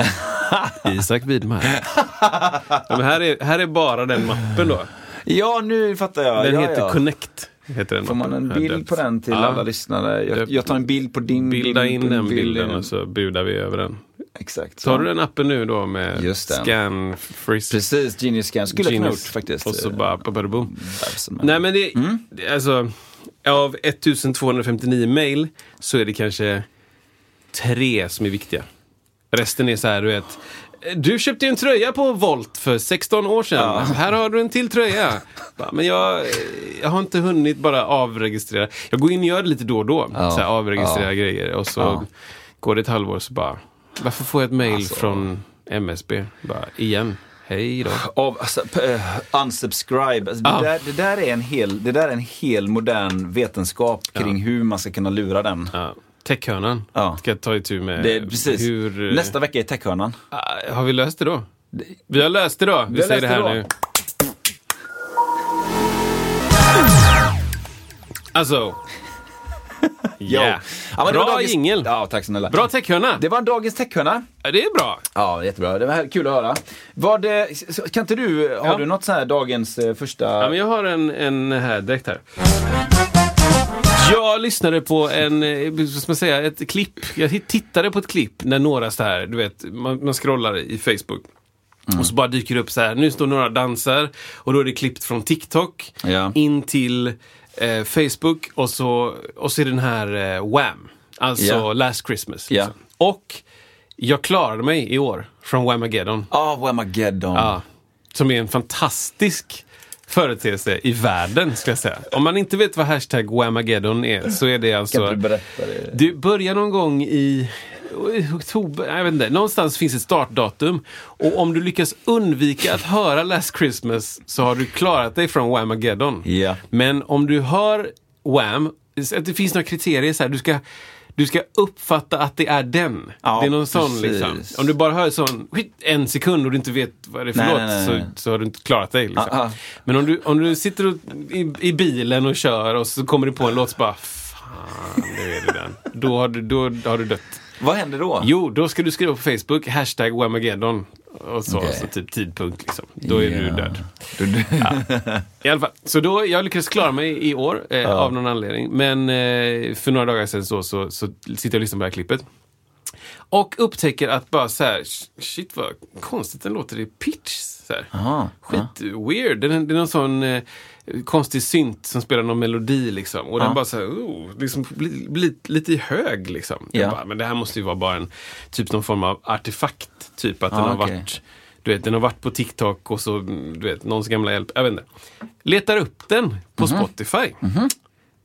Isak Widmark. Ja, men här, är, här är bara den mappen då. Ja, nu fattar jag. Den ja, heter ja. Connect. Heter den Får man en mappen. Här bild döpt. på den till Ja, alla lyssnare? Jag, jag tar en bild på din Bilda bild på in din den bild. bilden och så budar vi över den. Exakt. Tar du den appen nu då med Just den. scan freeze? Precis, Genius Scan. Skulle jag kunna gjort Genius. faktiskt. Eh, Och så bara babadaboom. Babsen, men- Nej men det, Mm. det- alltså av 1259 mail så är det kanske tre som är viktiga. Resten är så här, du vet. Du köpte ju en tröja på Volt för 16 år sedan. Här har du en till tröja. Bara, Men jag, jag har inte hunnit bara avregistrera. Jag går in och gör det lite då och då. Ja. Så här, avregistrera Ja. grejer. Och så Ja. Alltså. går det ett halvår så bara, varför får jag ett mail från MSB? Bara, igen. Hej då. Av, alltså, p- eh, unsubscribe. Alltså, det, Ja. där, det, där är en hel, det där är en hel modern vetenskap kring hur man ska kunna lura den. Ja. Techhörnan Ja. ska jag ta itu med. Det, är- precis. Hur, eh, Nästa vecka är techhörnan. ah, Har vi löst det då? Vi har löst det då. Vi, har säger löst det här det då. nu. Alltså. Jo. Yeah. Ja, men det var bra dagens- jingel. Ja, tack snälla. Bra techhörna. Det Det... var en dagens techhörna. det är bra. Ja, jättebra. Det var här- kul att höra. Vad, eh, s- kan inte du, eh, har Ja. du något så här dagens eh, första... Ja, men jag har en, en här direkt här. Jag lyssnade på en, eh, vad ska man säga, ett klipp. Jag hitt- tittade på ett klipp när några så här, du vet, man, man scrollar i Facebook. Mm. Och så bara dyker det upp så här, nu står några dansar och då är det klippt från TikTok Ja. in till eh, Facebook och så, och så är den här eh, Wham! Alltså Ja. Last Christmas. liksom. Ja. Och jag klarade mig i år från Whamageddon. Ah, Whamageddon. Ja. Som är en fantastisk företeelse i världen, ska jag säga. Om man inte vet vad hashtag Whamageddon är så är det alltså... Kan inte du berätta det? Det börjar någon gång i oh, i oktober, jag vet inte, någonstans finns ett startdatum. Och om du lyckas undvika att höra Last Christmas så har du klarat dig från Whamageddon. Ja. Men om du hör Wham, att det finns några kriterier så här, du ska, du ska uppfatta att det är den. Ja, det är någon sån precis. liksom. Om du bara hör sån, skit, en sekund och du inte vet vad det är för Nej, låt nej, nej, nej. Så, så har du inte klarat dig. Liksom. Ah, ah. Men om du, om du sitter och, i, i bilen och kör och så kommer du på en låt så bara, fan, nu är det den. Då har du, då, har du dött. Vad händer då? Jo, då ska du skriva på Facebook, hashtag Whamageddon. Och så, Okej. så typ tidpunkt liksom. Då är du Ja. död. Du, du, I alla fall, så då, jag lyckades klara mig i år eh, av någon anledning. Men eh, för några dagar sedan så, så, så sitter jag och lyssnar på det här klippet. Och upptäcker att bara så här, sh- shit vad konstigt den låter i pitch. Så här. Aha, Skit weird. Det är, det är någon sån eh, konstig synt som spelar någon melodi liksom. Och den Ja. bara så här, oh, liksom blir blir lite i hög liksom. Jag Ja. Bara, men det här måste ju vara bara en, typ någon form av artefakt. Typ att Ja, den har Ah, okej. varit du vet, den har varit på TikTok och så, mm, du vet, någons gamla hjälp. Jag vet inte. Letar upp den på Mhm. Spotify.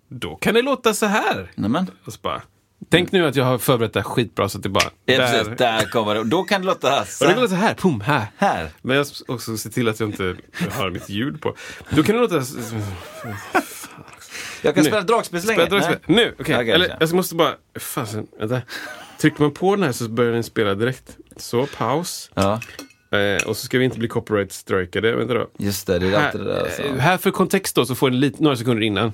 Då kan det låta så här. Nämen. Och så bara, Tänk nu att jag har förberett det här skitbra så att det bara... Ja, precis. Där kommer det. Och Då kan det låta så Och det kan här. låta så här. Pum, här. Här. Men jag ska också se till att jag inte har mitt ljud på. Då kan det låta... s- Jag kan Nu. spela ett dragspel så länge. Spela dragspel. Nej. Nu! Okej. Okej, Eller okej. jag måste bara... Fasen, vänta. Trycker man på den här så börjar den spela direkt. Så, paus. Ja, Eh, och så ska vi inte bli copyright-strikade. Vänta då. just det. Det är alltid det där. Eh, Alltså. Mm. Här för kontext då, så får ni lite, några sekunder innan.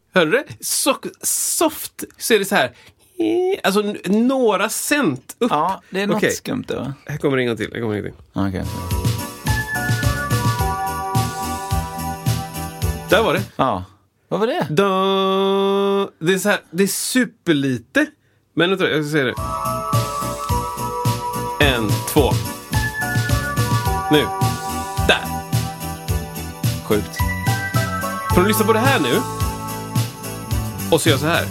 Hörde du? So soft så är det så här. Alltså n- några cent upp. Ja, det är något Okej. skumt där va? Här kommer det en gång till. Här kommer det en gång till. Okej. Där var det. Ja. Vad var det? Da, det, är så här, det är superlite. Men vänta, jag ska säga det. En, två. Nu. Där. Sjukt. Får du lyssna på det här nu? Och så gör jag så här.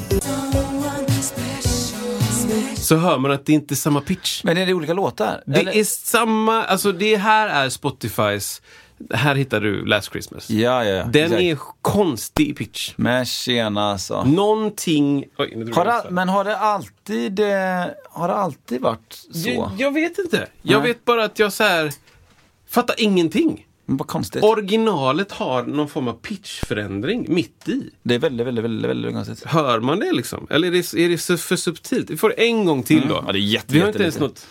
Så hör man att det inte är samma pitch. Men är det olika låtar? Det Eller- är samma, alltså det här är Spotifys, här hittar du Last Christmas. Ja, ja, ja. Den Exakt. är konstig i pitch. Men tjena alltså. Någonting... Oj, nu drog Har jag det, upp här. men har det alltid, eh, har det alltid varit så? Jag, jag vet inte. Jag Nej. vet bara att jag så här fattar ingenting. Men Vad konstigt. Originalet har någon form av pitchförändring mitt i. det är väldigt, väldigt, väldigt, väldigt konstigt. Hör man det liksom? Eller är det, är det så för subtilt? Vi får en gång till då. Mm. Ja, det är jätte, Vi har inte ens jättelite.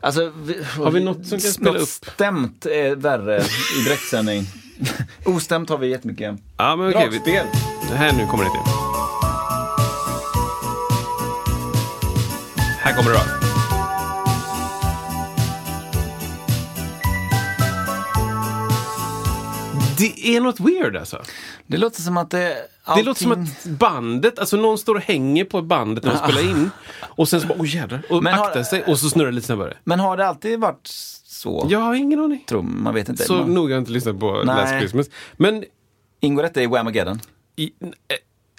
något... Alltså, vi, Har vi något som kan spela något upp? stämt är värre i direktsändning. Ostämt har vi jättemycket. Ja, men okej. vi- Dragspel. Det här nu kommer det till. Här kommer det då. Det är något weird alltså. Det låter som att det... Det Allting... låter som att bandet, alltså någon står och hänger på bandet när de spelar in. Och sen så bara, oh jädrar. Och Men har- aktar sig och så snurrar det lite snabbare. Men har det alltid varit så? Jag har ingen aning. Tror, man vet inte. Så man... noga har jag inte lyssnat på Nej. Last Christmas. Men Ingår detta i Whamageddon? i, eh,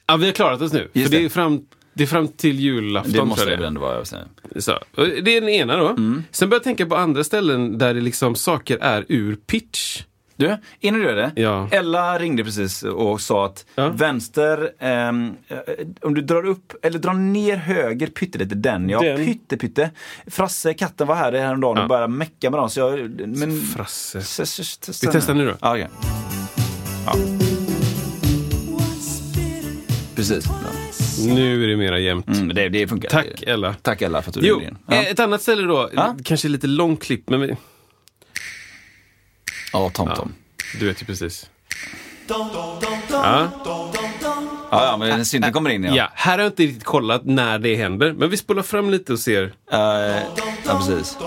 ja, vi har klarat oss nu. Just för det. det. är fram, det är fram till julafton. Det tror måste jag det är. väl ändå vara. jag säger. Så, och det är den ena då. Sen börjar jag tänka på andra ställen där det liksom saker är ur pitch. Du, innan du gör det. Ja. Ella ringde precis och sa att Ja. vänster, ehm, eh, om du drar upp eller drar ner höger pyttelite, den ja, Den. pytte pytte. Frasse, katten var här häromdagen och började mecka med dem. Så jag, men, Frasse. S- s- s- Vi testar nu då. Ja, okej. Ja. Precis. Ja. Nu är det mera jämnt. Mm, det, det funkar. Tack Ella. Tack Ella för att du Jo, ringde in. Ja, eh, ett annat ställe då. Ja. Kanske lite långt klipp, men vi, ja Tom Tom. du vet ju precis. Ja, ja, men synten kommer in. Ja. Ja, här har jag inte riktigt kollat när det händer, men vi spolar fram lite och ser. Eh, ja precis.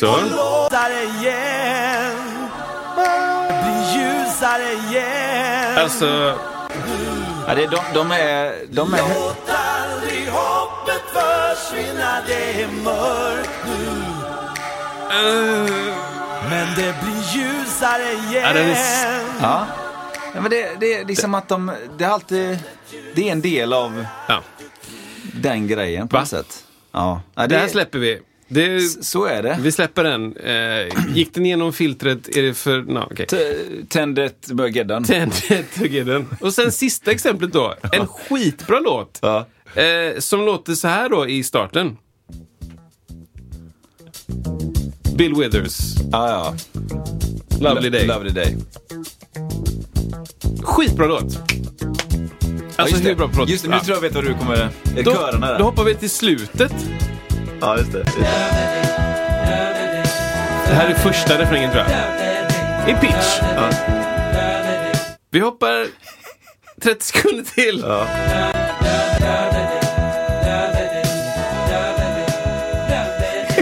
Så. Alltså, Ja, det, de, de är... De är ja, den är s- ja. ja men det, det är liksom att de... Det är alltid... Det är en del av ja. den grejen på Va? något sätt. Ja. ja Det här släpper vi. Det, Så är det. vi släpper den. Eh, gick den igenom filtret? Är det för... No, okay. T- Tändet börjar gäddan. Tändet tog i den. Och sen sista exemplet då. En skitbra låt. Ja. Eh, som låter så här då i starten. Bill Withers, Ja, ja. Lovely Day. Lovely day. Alltså, Skitbra låt. Ja, Alltså just hur det. bra på låt. Just det, nu Ja. tror jag vet vad du kommer... Är då, körerna där? då hoppar vi till slutet. Ja, just det. Det här är första refrängen tror jag. I pitch. Vi hoppar 30 sekunder till.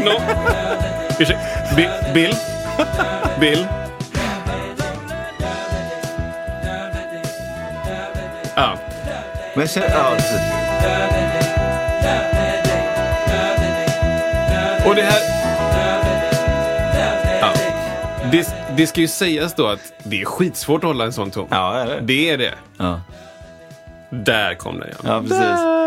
No. Ursäkta. Bill. Bill. Bill. Ja. Men jag känner, ja, precis. Och det här... Ja. Det, det ska ju sägas då att det är skitsvårt att hålla en sån ton. ja, är det? Det är det. Ja. Där kom den ja. ja, precis.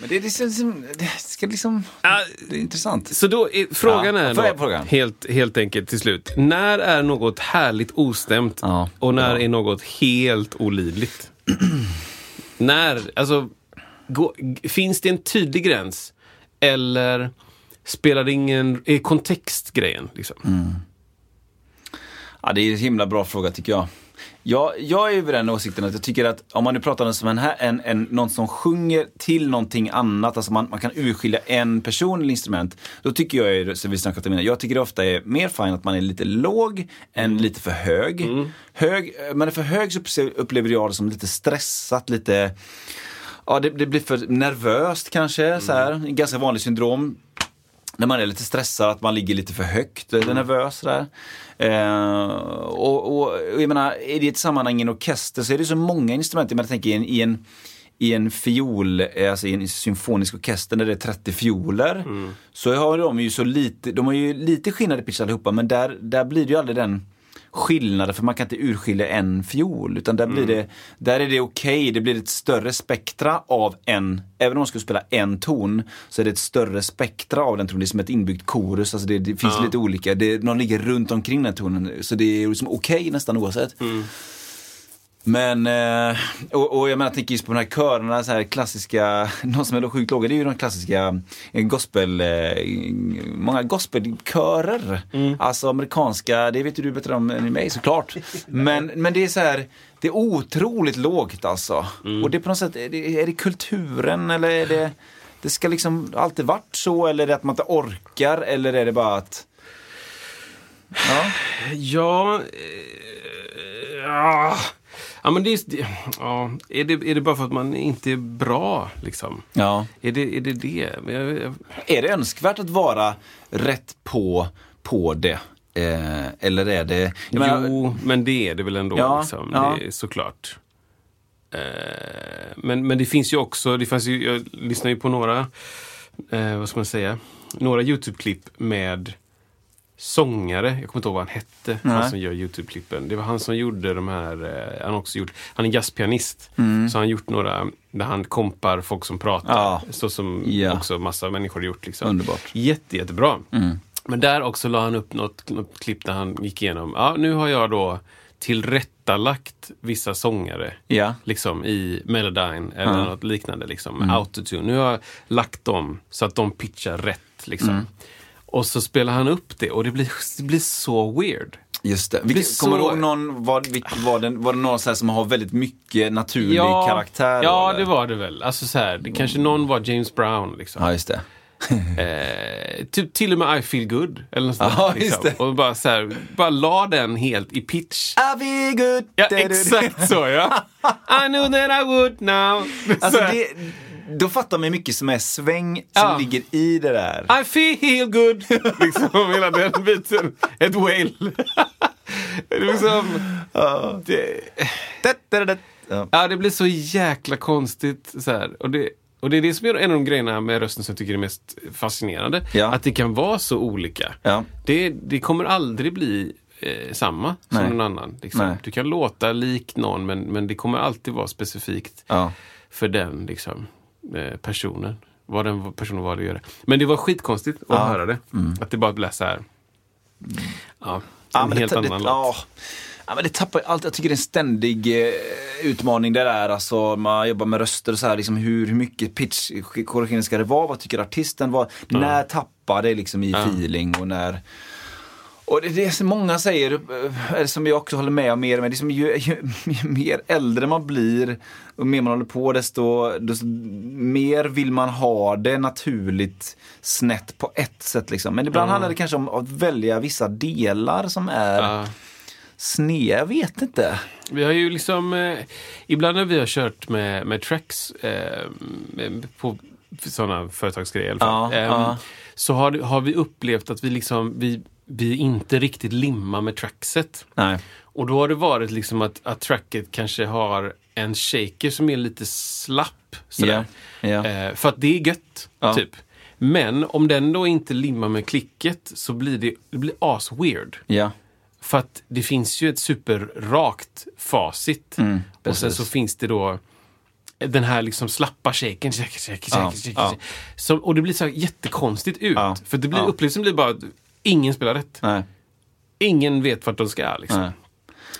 Men det, är liksom, som- det ska liksom... Ah, Det är intressant. Så då är, frågan Ja, är vad är då, frågan? Helt, helt enkelt till slut. När är något härligt ostämt Ja. och när är något helt olidligt? när, alltså, gå, g- finns det en tydlig gräns? Eller spelar det ingen, är kontext grejen? Liksom? Mm. Ja, det är en himla bra fråga tycker jag. Jag, jag är ju vid den åsikten att jag tycker att om man nu pratar om som en, här, en, en, någon som sjunger till någonting annat, alltså man, man kan urskilja en person eller instrument. Då tycker jag, ju, som vi snackat om innan, jag tycker det ofta är mer fine att man är lite låg än lite för hög. hög eh, man är för hög så uppse- upplever jag det som lite stressat, lite Ja, det, det blir för nervöst kanske. Så här. En ganska vanlig syndrom. När man är lite stressad, att man ligger lite för högt, eller nervös. så Där. Eh, och, och, och jag menar, är det ett sammanhang i en orkester så är det så många instrument. Jag menar, tänk i en, i en i en fiol, eh, alltså i en symfonisk orkester när det är 30 fioler så har de ju så lite, de har ju lite skillnad i pitch allihopa men där, där blir det ju aldrig den skillnader för man kan inte urskilja en fiol. Utan där, blir det, där är det okej, det blir ett större spektra av en, även om man skulle spela en ton, så är det ett större spektra av den tonen. Det är som ett inbyggt korus, alltså det, det finns lite olika, det, någon ligger runt omkring den tonen. Så det är liksom okej nästan oavsett. Men, eh, och, och jag menar, jag tänker just på de här körerna, så här klassiska, de som är sjukt låga, det är ju de klassiska eh, gospel, eh, många gospelkörer. Alltså amerikanska, det vet ju du bättre om än mig såklart. Men, men det är så här, det är otroligt lågt alltså. Och det är på något sätt, är det, är det kulturen eller är det, det ska liksom alltid varit så eller är det att man inte orkar eller är det bara att Ja, Ja... eh, ja. Ja, men det är, det- ja, är, det, är det bara för att man inte är bra, liksom? ja. Är det är det? det? Men Jag, jag, Är det önskvärt att vara rätt på, på det? Eh, eller är det... Jag menar, jo, men det är det väl ändå. Ja, liksom. ja. Det är, såklart. Eh, men, men det finns ju också, det fanns ju, jag lyssnar ju på några, eh, vad ska man säga, några YouTube-klipp med sångare, jag kommer inte ihåg vad han hette, han som gör YouTube-klippen. Det var han som gjorde de här, eh, han har också gjort, han är jazzpianist, så han har gjort några där han kompar folk som pratar. Mm. Ja. Så som Ja. också massa människor har gjort. Liksom. Underbart. Jätte, jättebra. Mm. Men där också la han upp något, något klipp där han gick igenom, ja nu har jag då tillrättalagt vissa sångare Ja. liksom i Melodyne eller Ja. Mm. något liknande, liksom, med autotune. Nu har jag lagt dem så att de pitchar rätt. Liksom. Mm. Och så spelar han upp det och det blir, det blir så weird. Just det. Vilket, så- Kommer du ihåg någon, var, vilk, var, det, var det någon så här som har väldigt mycket naturlig karaktär? ja eller? Mm. det var det väl. Alltså så här, det, kanske någon var James Brown. Liksom. Ja, just det. Eh, typ till och med I feel good. Eller något sånt där, Ja, just liksom. det. Och bara så här, bara la den helt i pitch. Are we good? Ja, Da-da-da. exakt så ja. I knew that I would now. Alltså, Så här, det, då fattar man mycket som är sväng som Ja. ligger i det där. I feel good. Liksom hela den biten. Ett wail. Det är liksom, det, Da-da-da-da. Ja. ja, det blir så jäkla konstigt. Så här. Och, det, och det är det som är en av de grejerna med rösten som jag tycker är mest fascinerande. Ja. Att det kan vara så olika. Ja. Det, det kommer aldrig bli eh, samma som Nej. någon annan. Liksom. Nej. Du kan låta lik någon men, men det kommer alltid vara specifikt Ja. för den liksom, eh, personen. Vad den personen valde att göra. Men det var skitkonstigt att höra det. Att det bara blev så här. Ja, en Mm. Ja, men helt det, ta- annan det, låt. ja. ja, men det tappar allt. Jag tycker det är en ständig eh, utmaning det där. Alltså, man jobbar med röster och så här, liksom hur, hur mycket pitchkorrigering ska det vara? Vad tycker artisten? Vad, När tappar det liksom i feeling och när... Och det, det som många säger, eh, eller som jag också håller med om mer, men det är som ju, ju, ju mer äldre man blir och mer man håller på desto, desto mer vill man ha det naturligt snett på ett sätt. Liksom. Men ibland handlar det kanske om att välja vissa delar som är Ja. sneda, jag vet inte. Vi har ju liksom, eh, ibland när vi har kört med, med tracks eh, med- på sådana företagsgrejer i alla fall, Ja, ehm, ja. så har, har vi upplevt att vi liksom, vi, vi inte riktigt limmar med trackset. Nej. Och då har det varit liksom att, att tracket kanske har en shaker som är lite slapp. Sådär. Ja, ja. Eh, för att det är gött, Ja. typ. Men om den då inte limmar med klicket så blir det, det blir as-weird. Ja. För att det finns ju ett superrakt facit. och sen Mm, precis. så finns det då den här liksom slappa shaken. Shake, shake, shake, Ja, shake, ja. shake. Som, och det blir så här jättekonstigt ut. Ja, För det blir, ja. upplevelsen blir bara att ingen spelar rätt. Nej. Ingen vet vart de ska. Liksom. Nej.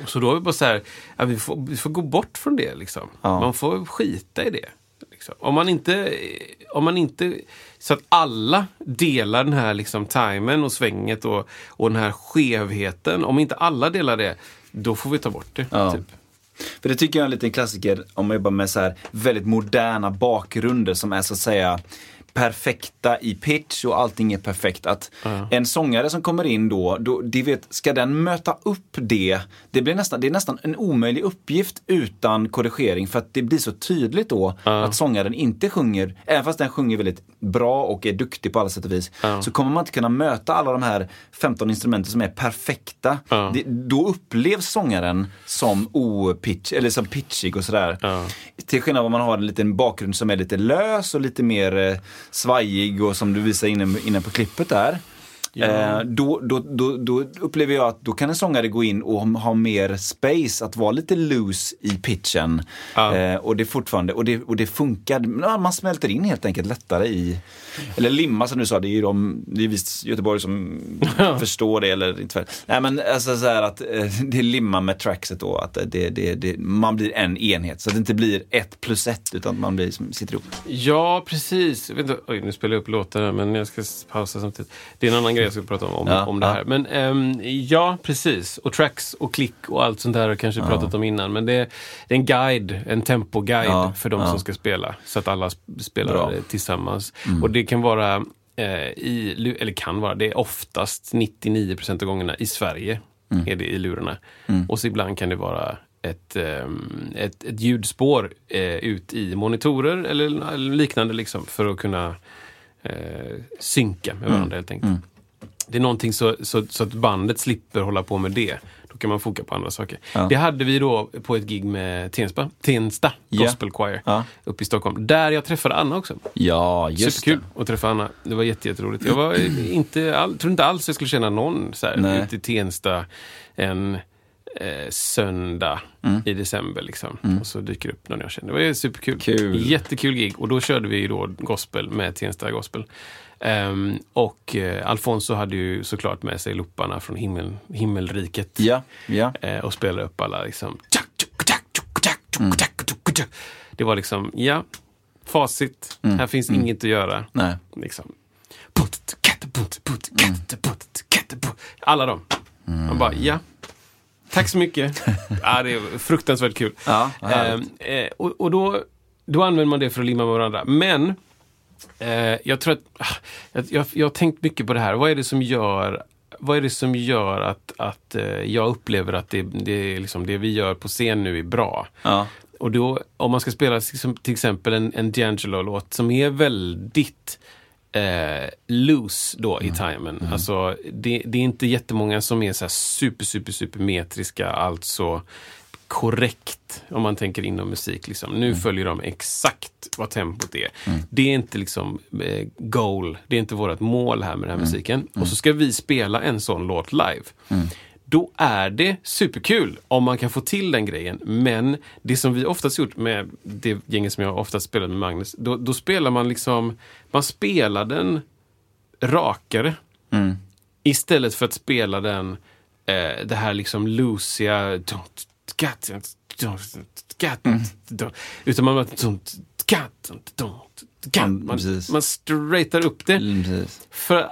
Så då är det bara så här, ja, vi, får, vi får gå bort från det. Liksom. Ja. Man får skita i det. Liksom. Om, man inte, om man inte... Så att alla delar den här liksom, timen och svänget och, och den här skevheten. Om inte alla delar det, då får vi ta bort det. Ja. Typ. För det tycker jag är en liten klassiker om man jobbar med så här väldigt moderna bakgrunder som är så att säga perfekta i pitch och allting är perfekt. Att En sångare som kommer in då, då de vet, ska den möta upp det? Det, blir nästan, det är nästan en omöjlig uppgift utan korrigering för att det blir så tydligt då att sångaren inte sjunger, även fast den sjunger väldigt bra och är duktig på alla sätt och vis, så kommer man inte kunna möta alla de här 15 instrumenten som är perfekta. Det, då upplevs sångaren som opitch, eller som pitchig och sådär. Till skillnad från om man har en liten bakgrund som är lite lös och lite mer eh, svajig och som du visar inne, inne på klippet där. Eh, då, då, då, då upplever jag att då kan en sångare gå in och ha mer space, att vara lite loose i pitchen. Eh, och det är fortfarande, och det, och det funkar, Ja, man smälter in helt enkelt lättare i, eller limma som du sa, det är ju de, det är visst Göteborg som förstår det eller inte. för- Nej men alltså så här att eh, det är limma med trackset då, att det, det, det, man blir en enhet. Så att det inte blir ett plus ett utan man blir, som sitter ihop. Ja, precis. Jag vet inte, oj, nu spelar jag upp låtar här, men jag ska s- pausa samtidigt. Det är en annan grej jag ska prata om, om, Ja, om det ja. här. Men ehm, ja, precis. Och tracks och klick och allt sånt där har jag kanske pratat om innan. Men det är, det är en guide, en tempoguide Ja, för de ja. som ska spela. Så att alla sp- spelar Bra. eh, tillsammans. Mm. Och det kan vara, eh, i, lu- eller kan vara, det är oftast 99% av gångerna i Sverige Mm. är det i lurarna. Och så ibland kan det vara ett, ehm, ett, ett ljudspår eh, ut i monitorer eller, eller liknande liksom för att kunna eh, synka med varandra Mm. helt enkelt. Det är någonting så, så, så att bandet slipper hålla på med det. Då kan man foka på andra saker. Det hade vi då på ett gig med Tensta, Tensta Ja. Gospel Choir Ja. uppe i Stockholm. Där jag träffade Anna också. Ja, Superkul att träffa Anna. Det var jätte- jätteroligt. Jag var inte all, trodde inte alls jag skulle känna någon så här, Nej. ute i Tensta en eh, söndag Mm. i december. Liksom. Och så dyker det upp någon jag känner. Det var ju superkul. Kul. Jättekul gig. Och då körde vi ju då gospel med Tensta Gospel. Ehm, och eh, Alfonso hade ju såklart med sig lopparna från himmel, himmelriket. Ja, ja. Eh, och spelade upp alla liksom... Mm. Det var liksom, ja, facit. Här finns inget att göra. Mm. Nej. Liksom. Mm. Alla de. Man bara, ja. Tack så mycket. ja, det är fruktansvärt kul. Ja, vad härligt. eh, eh, och och då, då använder man det för att limma med varandra. Men Eh, jag tror att, ah, jag, jag, jag har tänkt mycket på det här. Vad är det som gör, vad är det som gör att, att eh, jag upplever att det, det, är liksom, det vi gör på scen nu är bra? Ja. Och då, om man ska spela liksom, till exempel en, en D'Angelo-låt som är väldigt eh, loose då i timen. Alltså, det, det är inte jättemånga som är så här super, super, super metriska, alltså korrekt om man tänker inom musik. Liksom. Nu följer de exakt vad tempot är. Det är inte liksom eh, goal, det är inte vårt mål här med den här musiken. Och så ska vi spela en sån låt live. Då är det superkul om man kan få till den grejen. Men det som vi oftast gjort med det gänget som jag oftast spelat med Magnus, då, då spelar man liksom, man spelar den rakare. Mm. Istället för att spela den, eh, det här liksom loosiga... Mm. Utan man bara... Kan. Man, precis. man straightar upp det. Mm, precis. För eh,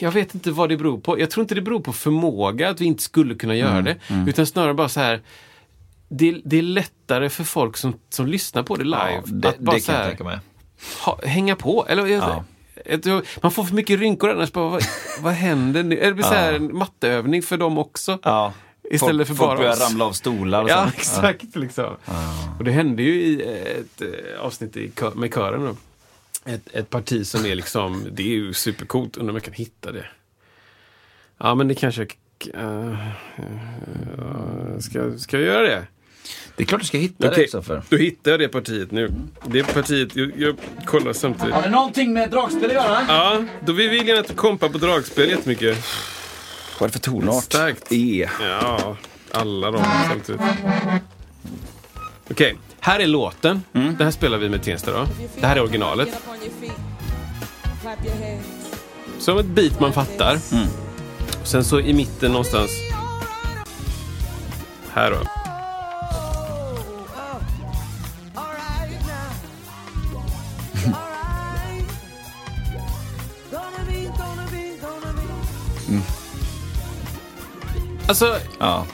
jag vet inte vad det beror på. Jag tror inte det beror på förmåga, att vi inte skulle kunna Mm, göra det. Utan snarare bara så här, det, det är lättare för folk som, som lyssnar på det live. Ja, det, att bara det så kan jag här, tänka mig. ha, hänga på. Eller, jag, Ja. jag tror- man får för mycket rynkor annars. Bara, vad, vad händer nu? Eller Det blir så här en matteövning för dem också. Ja. Istället folk, för bara Folk börjar oss. ramla av stolar och Ja, sånt. exakt. Liksom. Och det hände ju i ett eh, avsnitt i kö- med kören. Då. Ett, ett parti som är liksom, det är ju supercoolt. Undrar om jag kan hitta det. Ja, men det kanske jag... k- eh, eh, ska, ska jag göra det? Det är klart du ska hitta det Okej, Kristoffer. Då hittar jag det partiet nu. Det partiet, jag, jag kollar samtidigt. Har det någonting med dragspel att göra? Ja, då vill vi gärna att du kompar på dragspel jättemycket. Vad är det för tonart? Starkt. E. Ja, alla de samtidigt. Okej, här är låten. Mm. Det här spelar vi med Tensta då. Det här är originalet. Som ett beat man fattar. Mm. Och Sen så i mitten någonstans. Här då. Alltså, Ja.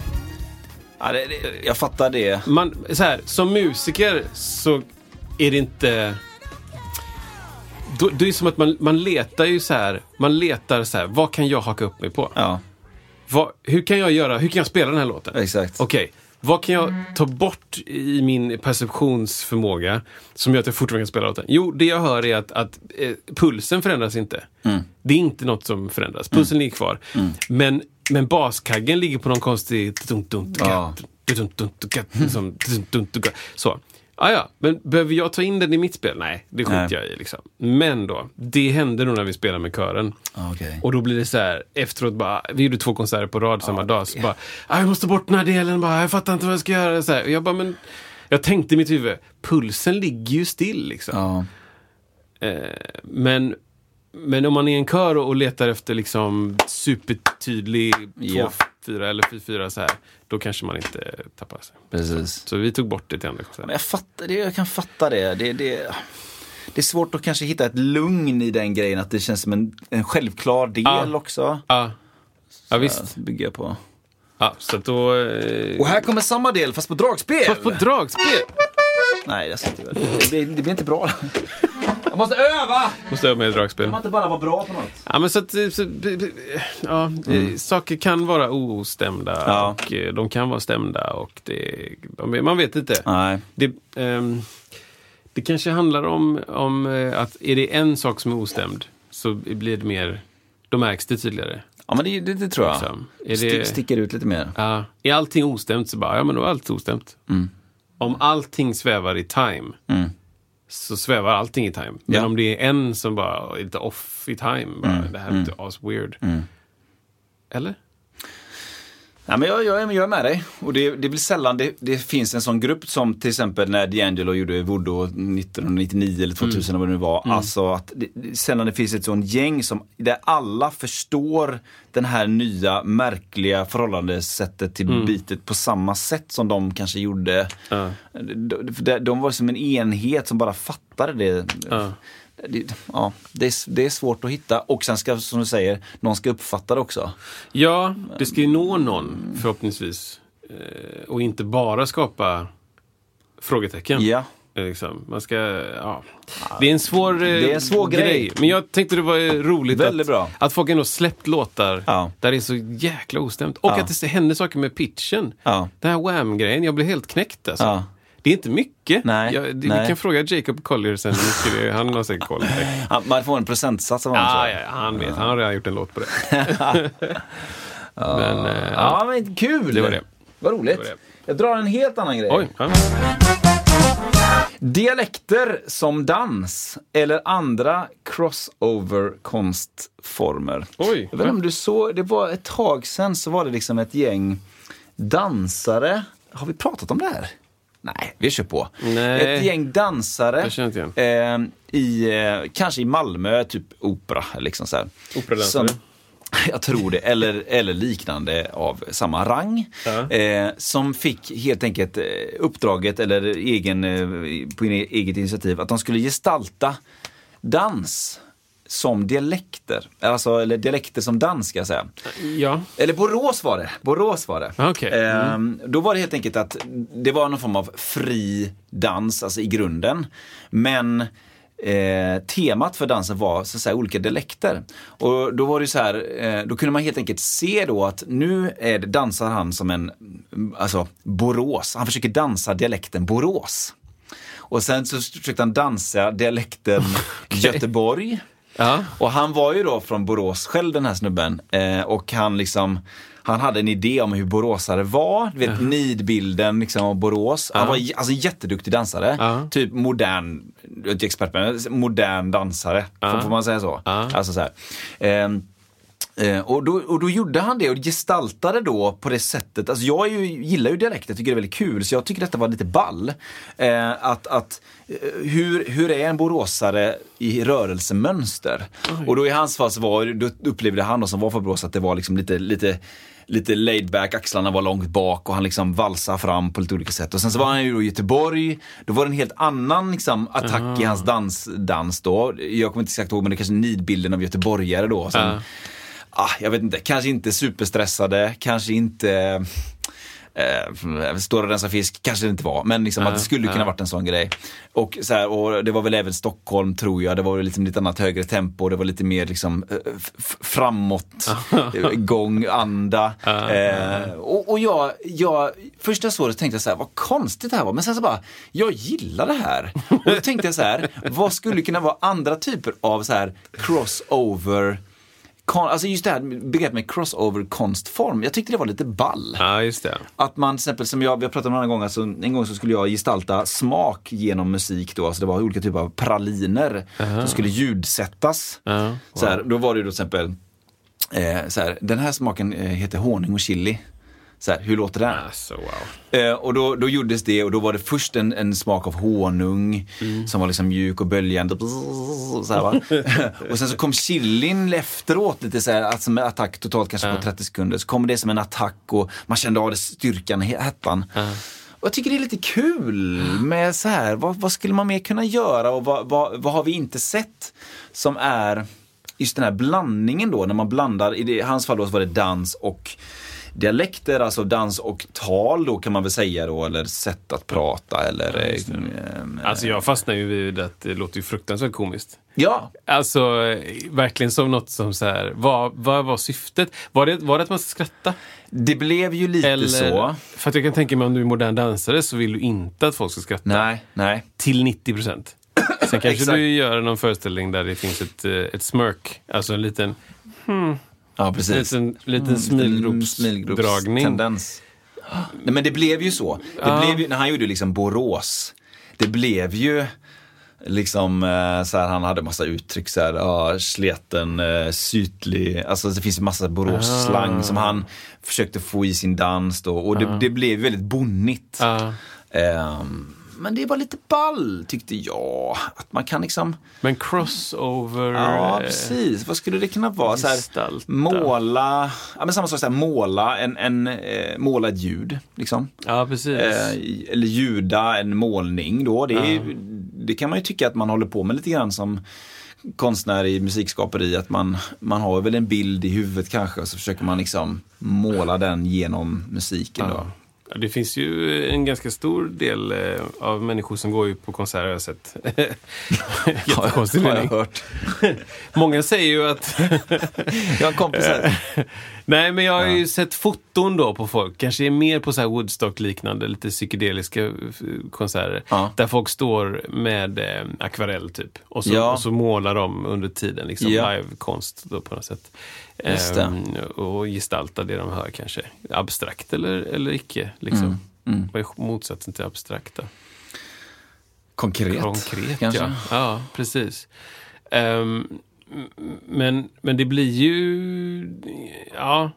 ja det, det, jag fattar det. man, så här, som musiker så är det inte... Då, det är som att man, man letar ju så här, man letar så här, vad kan jag haka upp mig på? Ja, Vad, hur kan jag göra, hur kan jag spela den här låten? Exakt. Okej, vad kan jag ta bort i min perceptionsförmåga som gör att jag fortfarande kan spela låten? Jo, det jag hör är att, att eh, pulsen förändras inte. Mm. Det är inte något som förändras, pulsen ligger kvar. Men, men baskaggen ligger på någon konstig... Ja. Liksom, Så. Ah, ja, men behöver jag ta in den i mitt spel? Nej, det skiter Nej. jag i. Liksom. Men då, det hände nog när vi spelade med kören. okej. Och då blir det så här, efteråt bara, vi gjorde två konserter på rad samma dag, så bara, "Ah, jag måste bort den här delen, bara, jag fattar inte vad jag ska göra. Så här, och jag bara, men, jag tänkte i mitt huvud, pulsen ligger ju still liksom. Eh, Ja. Men, men om man är en kör och och letar efter liksom supertydlig 2-4 Ja. eller 4-4 så här, då kanske man inte tappar sig. precis. Så vi tog bort det till andra Men konserter. jag, fattar, det, jag kan fatta det. Det, det. det är svårt att kanske hitta ett lugn i den grejen, att det känns som en, en självklar del Ja. också. Ja, ja visst. Att bygga på. Ja, så att då... Eh, Och här kommer samma del fast på dragspel! fast på dragspel! Nej, jag sitter väl. Det, det, det blir inte bra. Jag måste öva! Måste öva mig i dragspel. inte bara vara bra på något. Ja, men så att, eh, så, b- b- ja, eh, saker kan vara ostämda Mm. Ja. och eh, de kan vara stämda och det, de, man vet inte. Nej. Det, ehm, det kanske handlar om, om eh, att är det en sak som är ostämd så blir det mer, då märks det tydligare. Ja, men det, det, det tror jag. Liksom. Är Sti- det- Sticker ut lite mer. Ja, är allting ostämt så bara, ja men då är allt ostämt. Om allting svävar i time så svävar allting i time. Men Ja. om det är en som bara är lite off i time, bara, det här är lite as-weird. Eller? Ja, men jag, jag, är- jag är med dig. Och det, det är väl sällan det, det finns en sån grupp som till exempel när D'Angelo gjorde Voodoo 1999 eller 2000 eller vad det nu var. Alltså att det, det, sällan det finns ett sånt gäng som, där alla förstår den här nya märkliga förhållandesättet till bitet på samma sätt som de kanske gjorde. De, de, de var som en enhet som bara fattade det. Det, ja, det, är, s- det är svårt att hitta och sen ska, som du säger, någon ska uppfatta det också. Ja, det ska ju nå någon förhoppningsvis. Eh, Och inte bara skapa frågetecken. Ja. Eh, Liksom. Man ska, ja. Det är en svår, eh, Det är en svår grej. Men jag tänkte det var eh, roligt Väldigt att, bra. att folk ändå släppt låtar Ja. där det är så jäkla ostämt. Och Ja. att det händer saker med pitchen. Ja. Den här Wham-grejen, jag blev helt knäckt alltså. Ja. Det är inte mycket. Nej, Jag, det, Vi nej. kan fråga Jacob Collier sen hur mycket det är. Han har säkert koll. Ja, Man får en procentsats av honom Ah, tror ja, jag. ja, han vet, han har redan gjort en låt på det. Men, eh, ja. Ja, men kul! Det var det. Vad Det roligt. var det. Jag drar en helt annan grej. Oj, ja. Dialekter som dans eller andra crossover-konstformer. Oj, Jag vet inte om du såg, det var ett tag sedan så var det liksom ett gäng dansare. Har vi pratat om det här? Nej, vi kör på. Nej. Ett gäng dansare Jag känner inte igen. eh, i, eh, kanske i Malmö, typ opera. Liksom så här. Operadansare. Som- jag tror det, eller, eller liknande av samma rang. Eh, som fick helt enkelt eh, uppdraget, eller egen, eh, på en eget initiativ, att de skulle gestalta dans som dialekter. Alltså, eller dialekter som dans ska jag säga. Ja. Eller Borås var det. Borås var det. Okej. Ehm, Då var det helt enkelt att det var någon form av fri dans, alltså i grunden. Men eh, temat för dansen var så att säga olika dialekter. Och då var det ju så här, eh, då kunde man helt enkelt se då att nu är det, dansar han som en, mm, alltså Borås. Han försöker dansa dialekten Borås. Och sen så försökte han dansa dialekten Göteborg. Ja. Och han var ju då från Borås själv den här snubben. Eh, och han liksom, han hade en idé om hur boråsare var. Du vet nidbilden liksom av Borås. Han var j- alltså en jätteduktig dansare. Ja. Typ modern, jag är inte expert men modern dansare. Får, får man säga så? Alltså så här. Ehm, Eh, och, då, och då gjorde han det och gestaltade då på det sättet, alltså jag är ju, gillar ju dialekter, tycker det är väldigt kul, så jag tycker detta var lite ball. Eh, att, att, eh, hur, hur är en boråsare i rörelsemönster? Och då i hans fall så var, då upplevde han då som var från Borås att det var liksom lite, lite lite laid back, axlarna var långt bak och han liksom valsade fram på lite olika sätt. Och sen så var han ju då i Göteborg, då var det en helt annan liksom, attack i hans dans, dans då. Jag kommer inte exakt ihåg men det kanske är nidbilden av göteborgare då. Som, ah, jag vet inte, kanske inte superstressade, kanske inte eh, står och rensar fisk, kanske det inte var, men liksom att det skulle kunna varit en sån grej. Och, så här, och det var väl även Stockholm tror jag, det var väl liksom lite annat högre tempo, det var lite mer liksom eh, f- f- framåt, eh, gång, anda. Eh, och och jag, jag, först när jag såg det så tänkte jag så här, vad konstigt det här var, men sen så bara, jag gillar det här. Och då tänkte jag så här, vad skulle kunna vara andra typer av så här crossover Kon, alltså just det här begreppet med crossover konstform, jag tyckte det var lite ball. Ja, just det. Att man till exempel, som jag, vi har pratat om en annan gång, alltså, en gång så skulle jag gestalta smak genom musik då, alltså det var olika typer av praliner som skulle ljudsättas. Ja, så här, då var det ju då till exempel, eh, så här, den här smaken eh, heter honung och chili. Så här, hur låter den? Alltså, wow. Eh, och då, då gjordes det och då var det först en, en smak av honung som var liksom mjuk och böljande. Så här, va? och sen så kom chilin efteråt lite så här, alltså med attack totalt kanske på 30 sekunder. Så kom det som en attack och man kände av det styrkan, he- hettan. Och jag tycker det är lite kul med så här, vad, vad skulle man mer kunna göra och vad, vad, vad har vi inte sett som är just den här blandningen då, när man blandar, i det, i hans fall då så var det dans och dialekter, alltså dans och tal då kan man väl säga då, eller sätt att prata eller... eh, Alltså, jag fastnar ju vid att det låter ju fruktansvärt komiskt. ja, Alltså, eh, verkligen som något som så här, vad, vad var syftet? Var det, var det att man ska skratta? det blev ju lite Eller, så. För att jag kan tänka mig om du är modern dansare så vill du inte att folk ska skratta. Nej, nej. Till 90 procent. Sen kanske Exakt. du gör någon föreställning där det finns ett, eh, ett smirk, alltså en liten, Ja, precis. Mm, liten, liten smilgropsdragning. Tendens. Nej, men det blev ju så. Det blev ju, när han gjorde liksom Borås, det blev ju liksom eh, så här, han hade massa uttryck så här, ja, sleten, eh, sytlig, alltså det finns ju massa Borås-slang som han försökte få i sin dans då och det, det blev väldigt bonnigt. Ja. Ehm, men det var lite ball tyckte jag. Att man kan liksom, Men crossover... Ja, eh, precis. Vad skulle det kunna vara? Så här, gestalta. måla, ja, men samma sak, så här, måla, en, en, eh, måla ett ljud. Liksom. Ja, precis. Eh, eller ljuda en målning då. Det, är, ju- det kan man ju tycka att man håller på med lite grann som konstnär i musikskaperi. Att man, man har väl en bild i huvudet kanske och så försöker man liksom måla den genom musiken. Då. Ja, Det finns ju en ganska stor del eh, av människor som går ju på konserter har jag sett. Jättekonstig har jag mening. hört. Många säger ju att... Jag har en kompis Eh. här. Nej, men jag har ju sett foton då på folk. Kanske är mer på så här Woodstock-liknande, lite psykedeliska eh, konserter. Ja. Där folk står med eh, akvarell typ. Och så, Ja. och så målar de under tiden, liksom Ja. livekonst då på något sätt. Just det. Ehm, och gestaltar det de hör kanske. Abstrakt eller, eller icke, liksom. Mm, Vad är motsatsen till abstrakt då? Konkret. Konkret, kanske. ja. Ja, precis. Ehm, m- men, men det blir ju... Ja.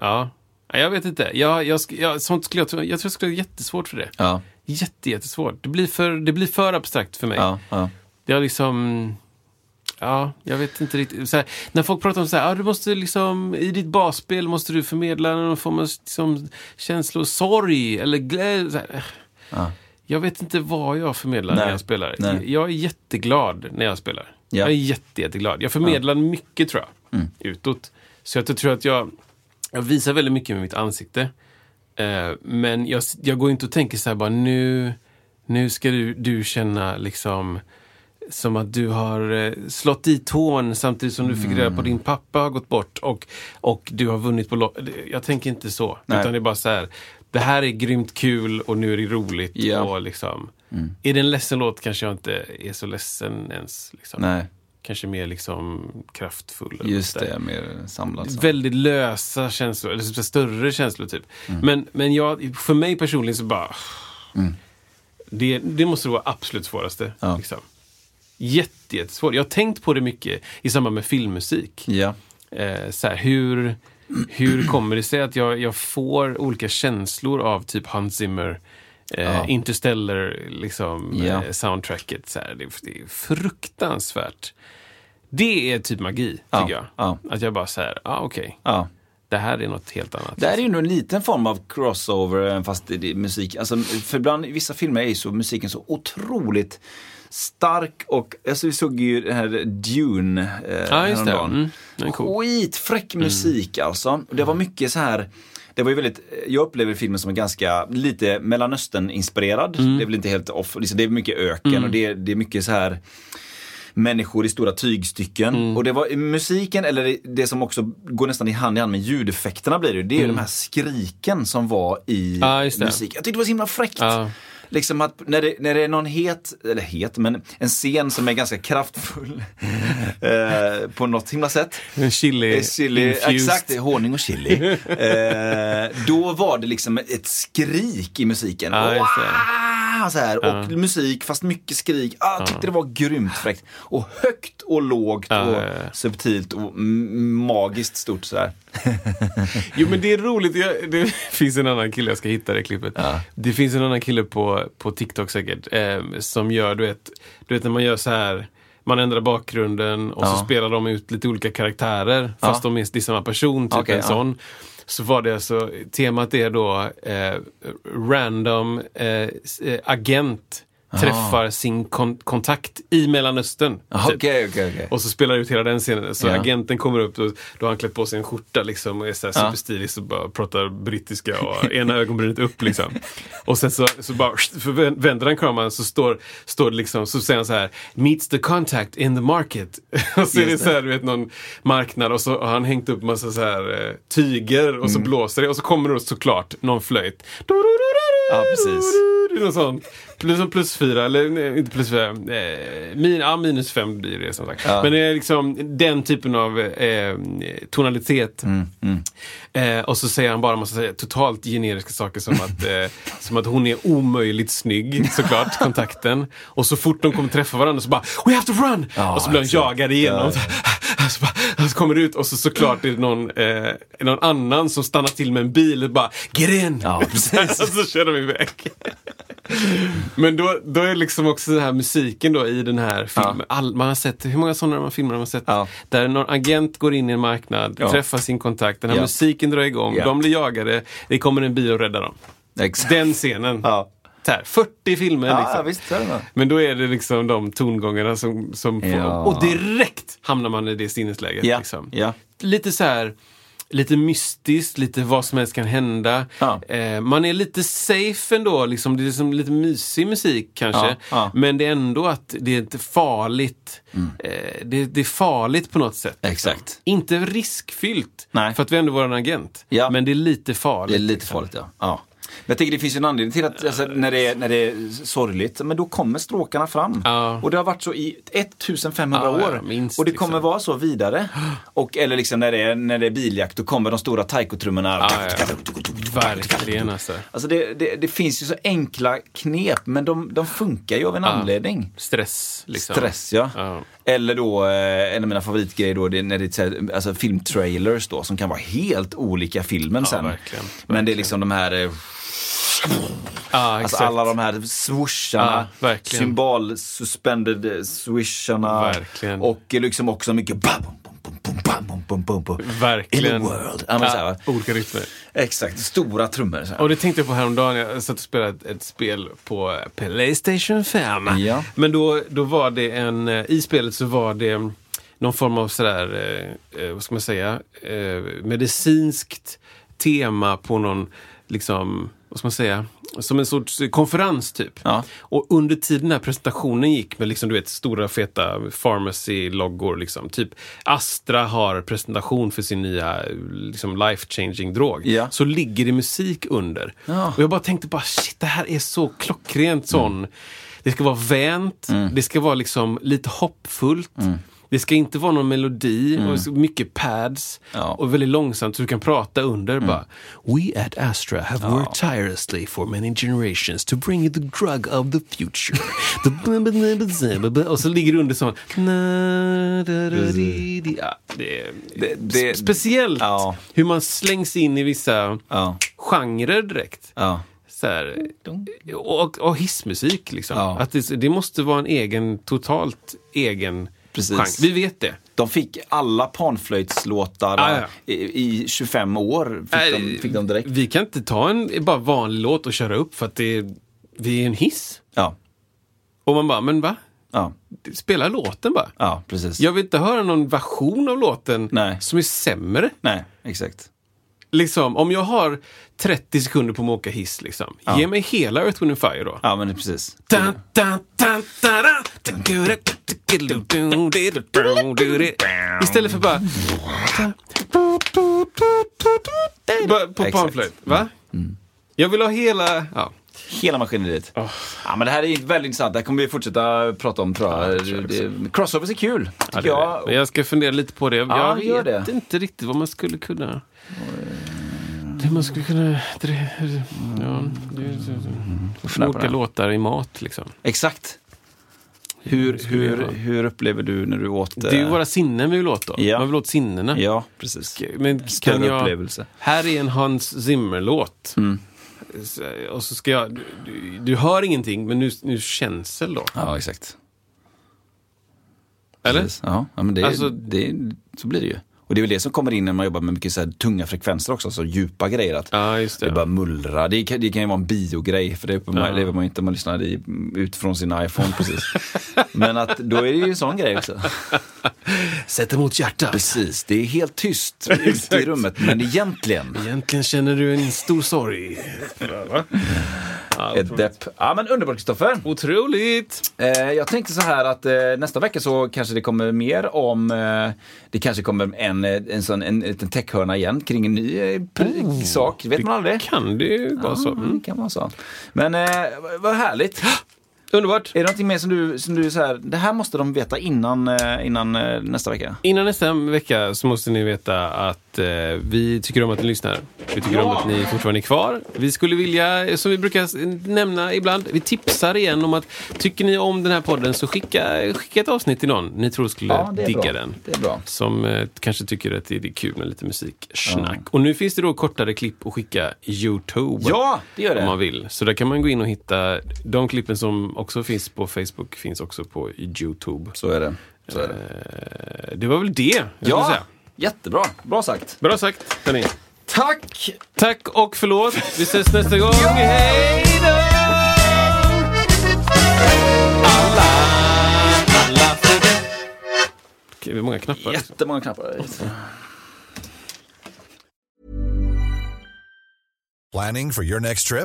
ja. Nej, Jag vet inte. Jag, jag, sk- jag, sånt skulle jag, tro- jag tror jag skulle ha jättesvårt för det. Ja. Jätte, jättesvårt. Det blir, för, det blir för abstrakt för mig. Ja, ja. Jag liksom... Ja, jag vet inte riktigt. Så här, när folk pratar om så här, ah, du måste liksom, i ditt basspel måste du förmedla någon form av liksom, känslor, sorg eller glädje. Så här. Jag vet inte vad jag förmedlar Nej, när jag spelar. nej. Jag är jätteglad när jag spelar. Ja. Jag är jätte, jätteglad. Jag förmedlar mycket tror jag, Mm. utåt. Så att jag tror att jag, jag visar väldigt mycket med mitt ansikte. Eh, men jag, s- jag går inte och tänker så här bara nu, nu ska du, du känna liksom som att du har eh, slått i tån samtidigt som du fick reda Mm. på att din pappa har gått bort och, och du har vunnit på lo- Jag tänker inte så. Nej. Utan det är bara så här, det här är grymt kul och nu är det roligt. Ja. Mm. Och liksom, Är det en ledsen låt kanske jag inte är så ledsen ens. Liksom. Nej, Kanske mer liksom kraftfull. eller just något där. det. Mer samlat. så. Väldigt lösa känslor, eller så- större känslor typ. Mm. Men, men jag, för mig personligen så bara... Det, det måste vara absolut svåraste. Ja. Liksom. Jätte, jättesvårt. Jag har tänkt på det mycket i samband med filmmusik. Ja. Eh, så här, hur, hur kommer det sig att jag, jag får olika känslor av typ Hans Zimmer, eh, Ja. Interstellar, liksom, Ja. eh, soundtracket. Så här, det, det är fruktansvärt. Det är typ magi, tycker Ja, jag. ja. Att jag bara så här, ah, okej, ja. det här är något helt annat. Det här är ju ändå en liten form av crossover även fast det det är musik. Alltså, för ibland i vissa filmer är ju så, musiken så otroligt stark och alltså, vi såg ju den här Dune eh, Ja, just det. häromdagen. Mm, den är cool. Mm. Skitfräck musik alltså. Det var mycket så här det var ju väldigt, jag upplever filmen som ganska lite Mellanöstern-inspirerad. Mm. Det är väl inte helt off, liksom, det är mycket öken och det, är- det är mycket så här människor i stora tygstycken. Mm. Och det var musiken, eller det- det som också går nästan i hand i hand med ljudeffekterna blir det ju, det är ju de här skriken som var i Mm. Ja, just det. musiken. Jag tyckte det var så himla fräckt. Ja. Liksom att när det, när det är någon het, eller het, men en scen som är ganska kraftfull eh, på något himla sätt. En chili, Eh, chili infused. exakt, honung och chili. eh, då var det liksom ett skrik i musiken. Ja, just det. Wow! så här. Och musik, fast mycket skrik. Ah, jag tyckte det var grymt fräckt. Och högt och lågt Ja, och ja, ja. Typ. subtilt och m- magiskt stort så här. Jo men det är roligt, jag, det finns en annan kille, jag ska hitta det klippet. Det finns en annan kille på, på TikTok säkert, eh, som gör, du vet, du vet när man gör så här, man ändrar bakgrunden och så Ja. spelar de ut lite olika karaktärer, fast de är, det är samma person, typ Okej, en ja. sån. Så var det alltså, temat är då eh, random eh, s- eh, agent träffar sin kon- kontakt i Mellanöstern. typ. Okej, okej, okej. Och så spelar det ut hela den scenen. Så Ja. agenten kommer upp och då har han klätt på sig en skjorta liksom och är så här Ja. superstilig och bara pratar brittiska och ena ögonbrynet upp liksom. Och sen så, så bara förvä- vänder han kameran så står, står det liksom, så säger han så här Meets the contact in the market. och så är det så här, du vet någon marknad och så har han hängt upp massa så här eh, tyger och så Mm. blåser det och så kommer det såklart någon flöjt. Ja, precis. Det är något sånt. Plus, plus fyra, eller nej, inte plus fyra. Eh, min, ja, minus fem blir det som sagt. Men det är liksom den typen av eh, tonalitet. Mm, Eh, och så säger han bara en massa så här totalt generiska saker som att, eh, som att hon är omöjligt snygg, såklart, kontakten. Och så fort de kommer träffa varandra så bara “We have to run!” Ja, Och så blir de exakt. jagade igenom. Så bara, så kommer det ut och så såklart är det någon, eh, någon annan som stannar till med en bil och bara “Get in!” Ja, precis. Och så kör de iväg. Men då, då är liksom också den här musiken då i den här filmen. All, man har sett, hur många sådana man filmer har man sett? Ja. Där någon agent går in i en marknad, Ja. träffar sin kontakt, den här Ja. musiken drar igång, Ja. de blir jagade, det kommer en bil och räddar dem. Exakt. Den liksom. scenen. Ja. Så här, 40 filmer Ja, liksom. ja, visst, så är det nog. Men då är det liksom de tongångarna som, som får, Ja. Och direkt hamnar man i det sinnesläget. Ja, Liksom. ja. Lite så här, lite mystiskt, lite vad som helst kan hända. Ja. Eh, man är lite safe ändå, liksom. det är liksom lite mysig musik kanske. Ja, ja. Mm. Men det är ändå att det är inte farligt. Eh, det, det är farligt på något sätt. Exakt. Inte riskfyllt, Eh. Nej. för att vi ändå var en agent. Ja. Men det är lite farligt. Det är lite farligt ja. ja. Men jag tänker det finns ju en anledning till att alltså, när, det är, när det är sorgligt, men då kommer stråkarna fram. Ja. Och det har varit så i 1500 Ja, ja, år. minst, och det kommer liksom. vara så vidare. Och, eller liksom när det, är, när det är biljakt, då kommer de stora taikotrummorna. Ja, ja. Verkligen alltså. Alltså det, det, det finns ju så enkla knep, men de, de funkar ju av en anledning. Stress. Liksom. Stress ja. Ja. Eller då, eh, en av mina favoritgrejer då, det är när det är så här, alltså filmtrailers då som kan vara helt olika filmen sen. verkligen. Men det är liksom de här eh, Ja, Alltså exakt. alla de här swoosharna, Ja, verkligen. symbol-suspended swisharna Verkligen. och liksom också mycket bam, bam, bam, bam, bam, bam, bum, bum, bum. Verkligen. Ah, In the world. Ja, men så här, va? olika rytmer. Exakt, stora trummor. Så här. Och det tänkte jag på häromdagen. Jag satt och spelade ett, ett spel på eh, Playstation 5. Ja. Men då, då var det en... eh, I spelet så var det mm, någon form av sådär, eh, eh, vad ska man säga, eh, medicinskt tema på någon, liksom, vad ska man säga, som en sorts eh, konferens typ. Ja. Och under tiden den här presentationen gick med liksom, du vet, stora feta pharmacy-loggor. Liksom. Typ Astra har presentation för sin nya eh, liksom, life-changing drog. Ja. Så ligger det musik under. Ja. Mm. Och jag bara tänkte bara shit, det här är så klockrent sån. Det ska vara vänt, det ska vara liksom lite hoppfullt. Mm. Det ska inte vara någon melodi, och det ska- mycket pads Ja. Mm. och väldigt långsamt så du kan prata under. Bara, We at Astra have worked tirelessly for many generations to bring you the drug of the future. The blah, blah, blah, blah, blah, blah. och så ligger det under sån... Na, da, da, di, di. Ja, det är Det- det- sp- speciellt Ja. hur man slängs in i vissa Ja. genrer direkt. Ja. Så här, och, och hissmusik liksom. Ja. Att det, det måste vara en egen, totalt egen Precis. genre. Vi vet det. De fick alla panflöjtslåtar Ah, ja. i, i 25 år. Fick, de, Nej, fick de direkt. Äh, Vi kan inte ta en bara vanlig låt och köra upp för att det, vi är en hiss. Ja, Och man bara, men va? ja, Spela låten bara. ja, precis. Jag vill inte höra någon version av låten Nej. som är sämre. Nej, exakt. Liksom, om jag har 30 sekunder på mig att åka hiss, liksom. ge mig hela Earth, Wind and Fire då. Ja, men precis. Dun, dun, dun, dun, dun. Tukura, tukidudun, didudun, dudi. Istället för bara... bara på Exakt. panflöjt, va? Jag vill ha hela... Ja. Hela maskineriet. Ja, men det här är väldigt intressant. Det här kommer vi fortsätta prata om tror jag. Det- Crossovers är kul, tycker Ja, jag. men jag ska fundera lite på det. Ja, jag gör vet det. inte riktigt vad man skulle kunna... Det man skulle kunna... det- Ja, det, det, Fundera på olika det. låtar i mat, liksom. Exakt. Hur, skulle jag hur, göra? hur upplever du när du åt... Det är ju eh, våra sinnen vi vill åt då. Ja. Man vill åt sinnena. Ja, precis. Men Större kan jag... upplevelse. Mm. Här är en Hans Zimmer-låt. Så- Och så ska jag... Du, du, du hör ingenting, men nu, nu känns det då. Ja, exakt. Eller? Precis. Ja, ja, men det, Alltså- det, så blir det ju. Och det är väl det som kommer in när man jobbar med mycket så här tunga frekvenser också, så djupa grejer. Att Ja, just det. bara mullrar. Det kan, det kan ju vara en biogrej, för det upplever man ju inte om man lyssnar i, utifrån sin iPhone precis. men att, då är det ju en sån grej också. Sätt emot hjärtat. Precis, det är helt tyst ute i rummet, men egentligen Egentligen känner du en stor sorg. ett depp. Ja, men underbart Kristoffer! Otroligt! Eh, jag tänkte så här att eh, nästa vecka så kanske det kommer mer om, eh, det kanske kommer en, eh, en, sån, en liten techhörna igen kring en ny eh, pr- sak, det vet man aldrig. Kan Oh, det ju vara så. Ja, det Mm. kan vara så. Men eh, vad- vad härligt! Underbart! Är det någonting mer som du, som du så här, det här måste de veta innan, eh, innan eh, nästa vecka? Innan nästa vecka så måste ni veta att eh, vi tycker om att ni lyssnar. Vi tycker om att ni fortfarande är kvar. Vi skulle vilja, eh, som vi brukar s- nämna ibland, vi tipsar igen om att tycker ni om den här podden så skicka, skicka ett avsnitt till någon ni tror skulle Ja, det är digga bra. den. Det är bra. Som eh, kanske tycker att det det är kul med lite musiksnack. Och nu finns det då kortare klipp att skicka Youtube. Ja, det gör det. Om man vill. Så där kan man gå in och hitta de klippen som också finns på Facebook, finns också på Youtube. Så är det. Så är det. Eh, Det var väl det, jag skulle Ja, säga. jättebra. Bra sagt. Bra sagt, hörni. Tack! Tack och förlåt. Vi ses nästa gång. Hej då! Alla, alla för det. Okej, hur många knappar? Jättemånga knappar. Planning for your next trip?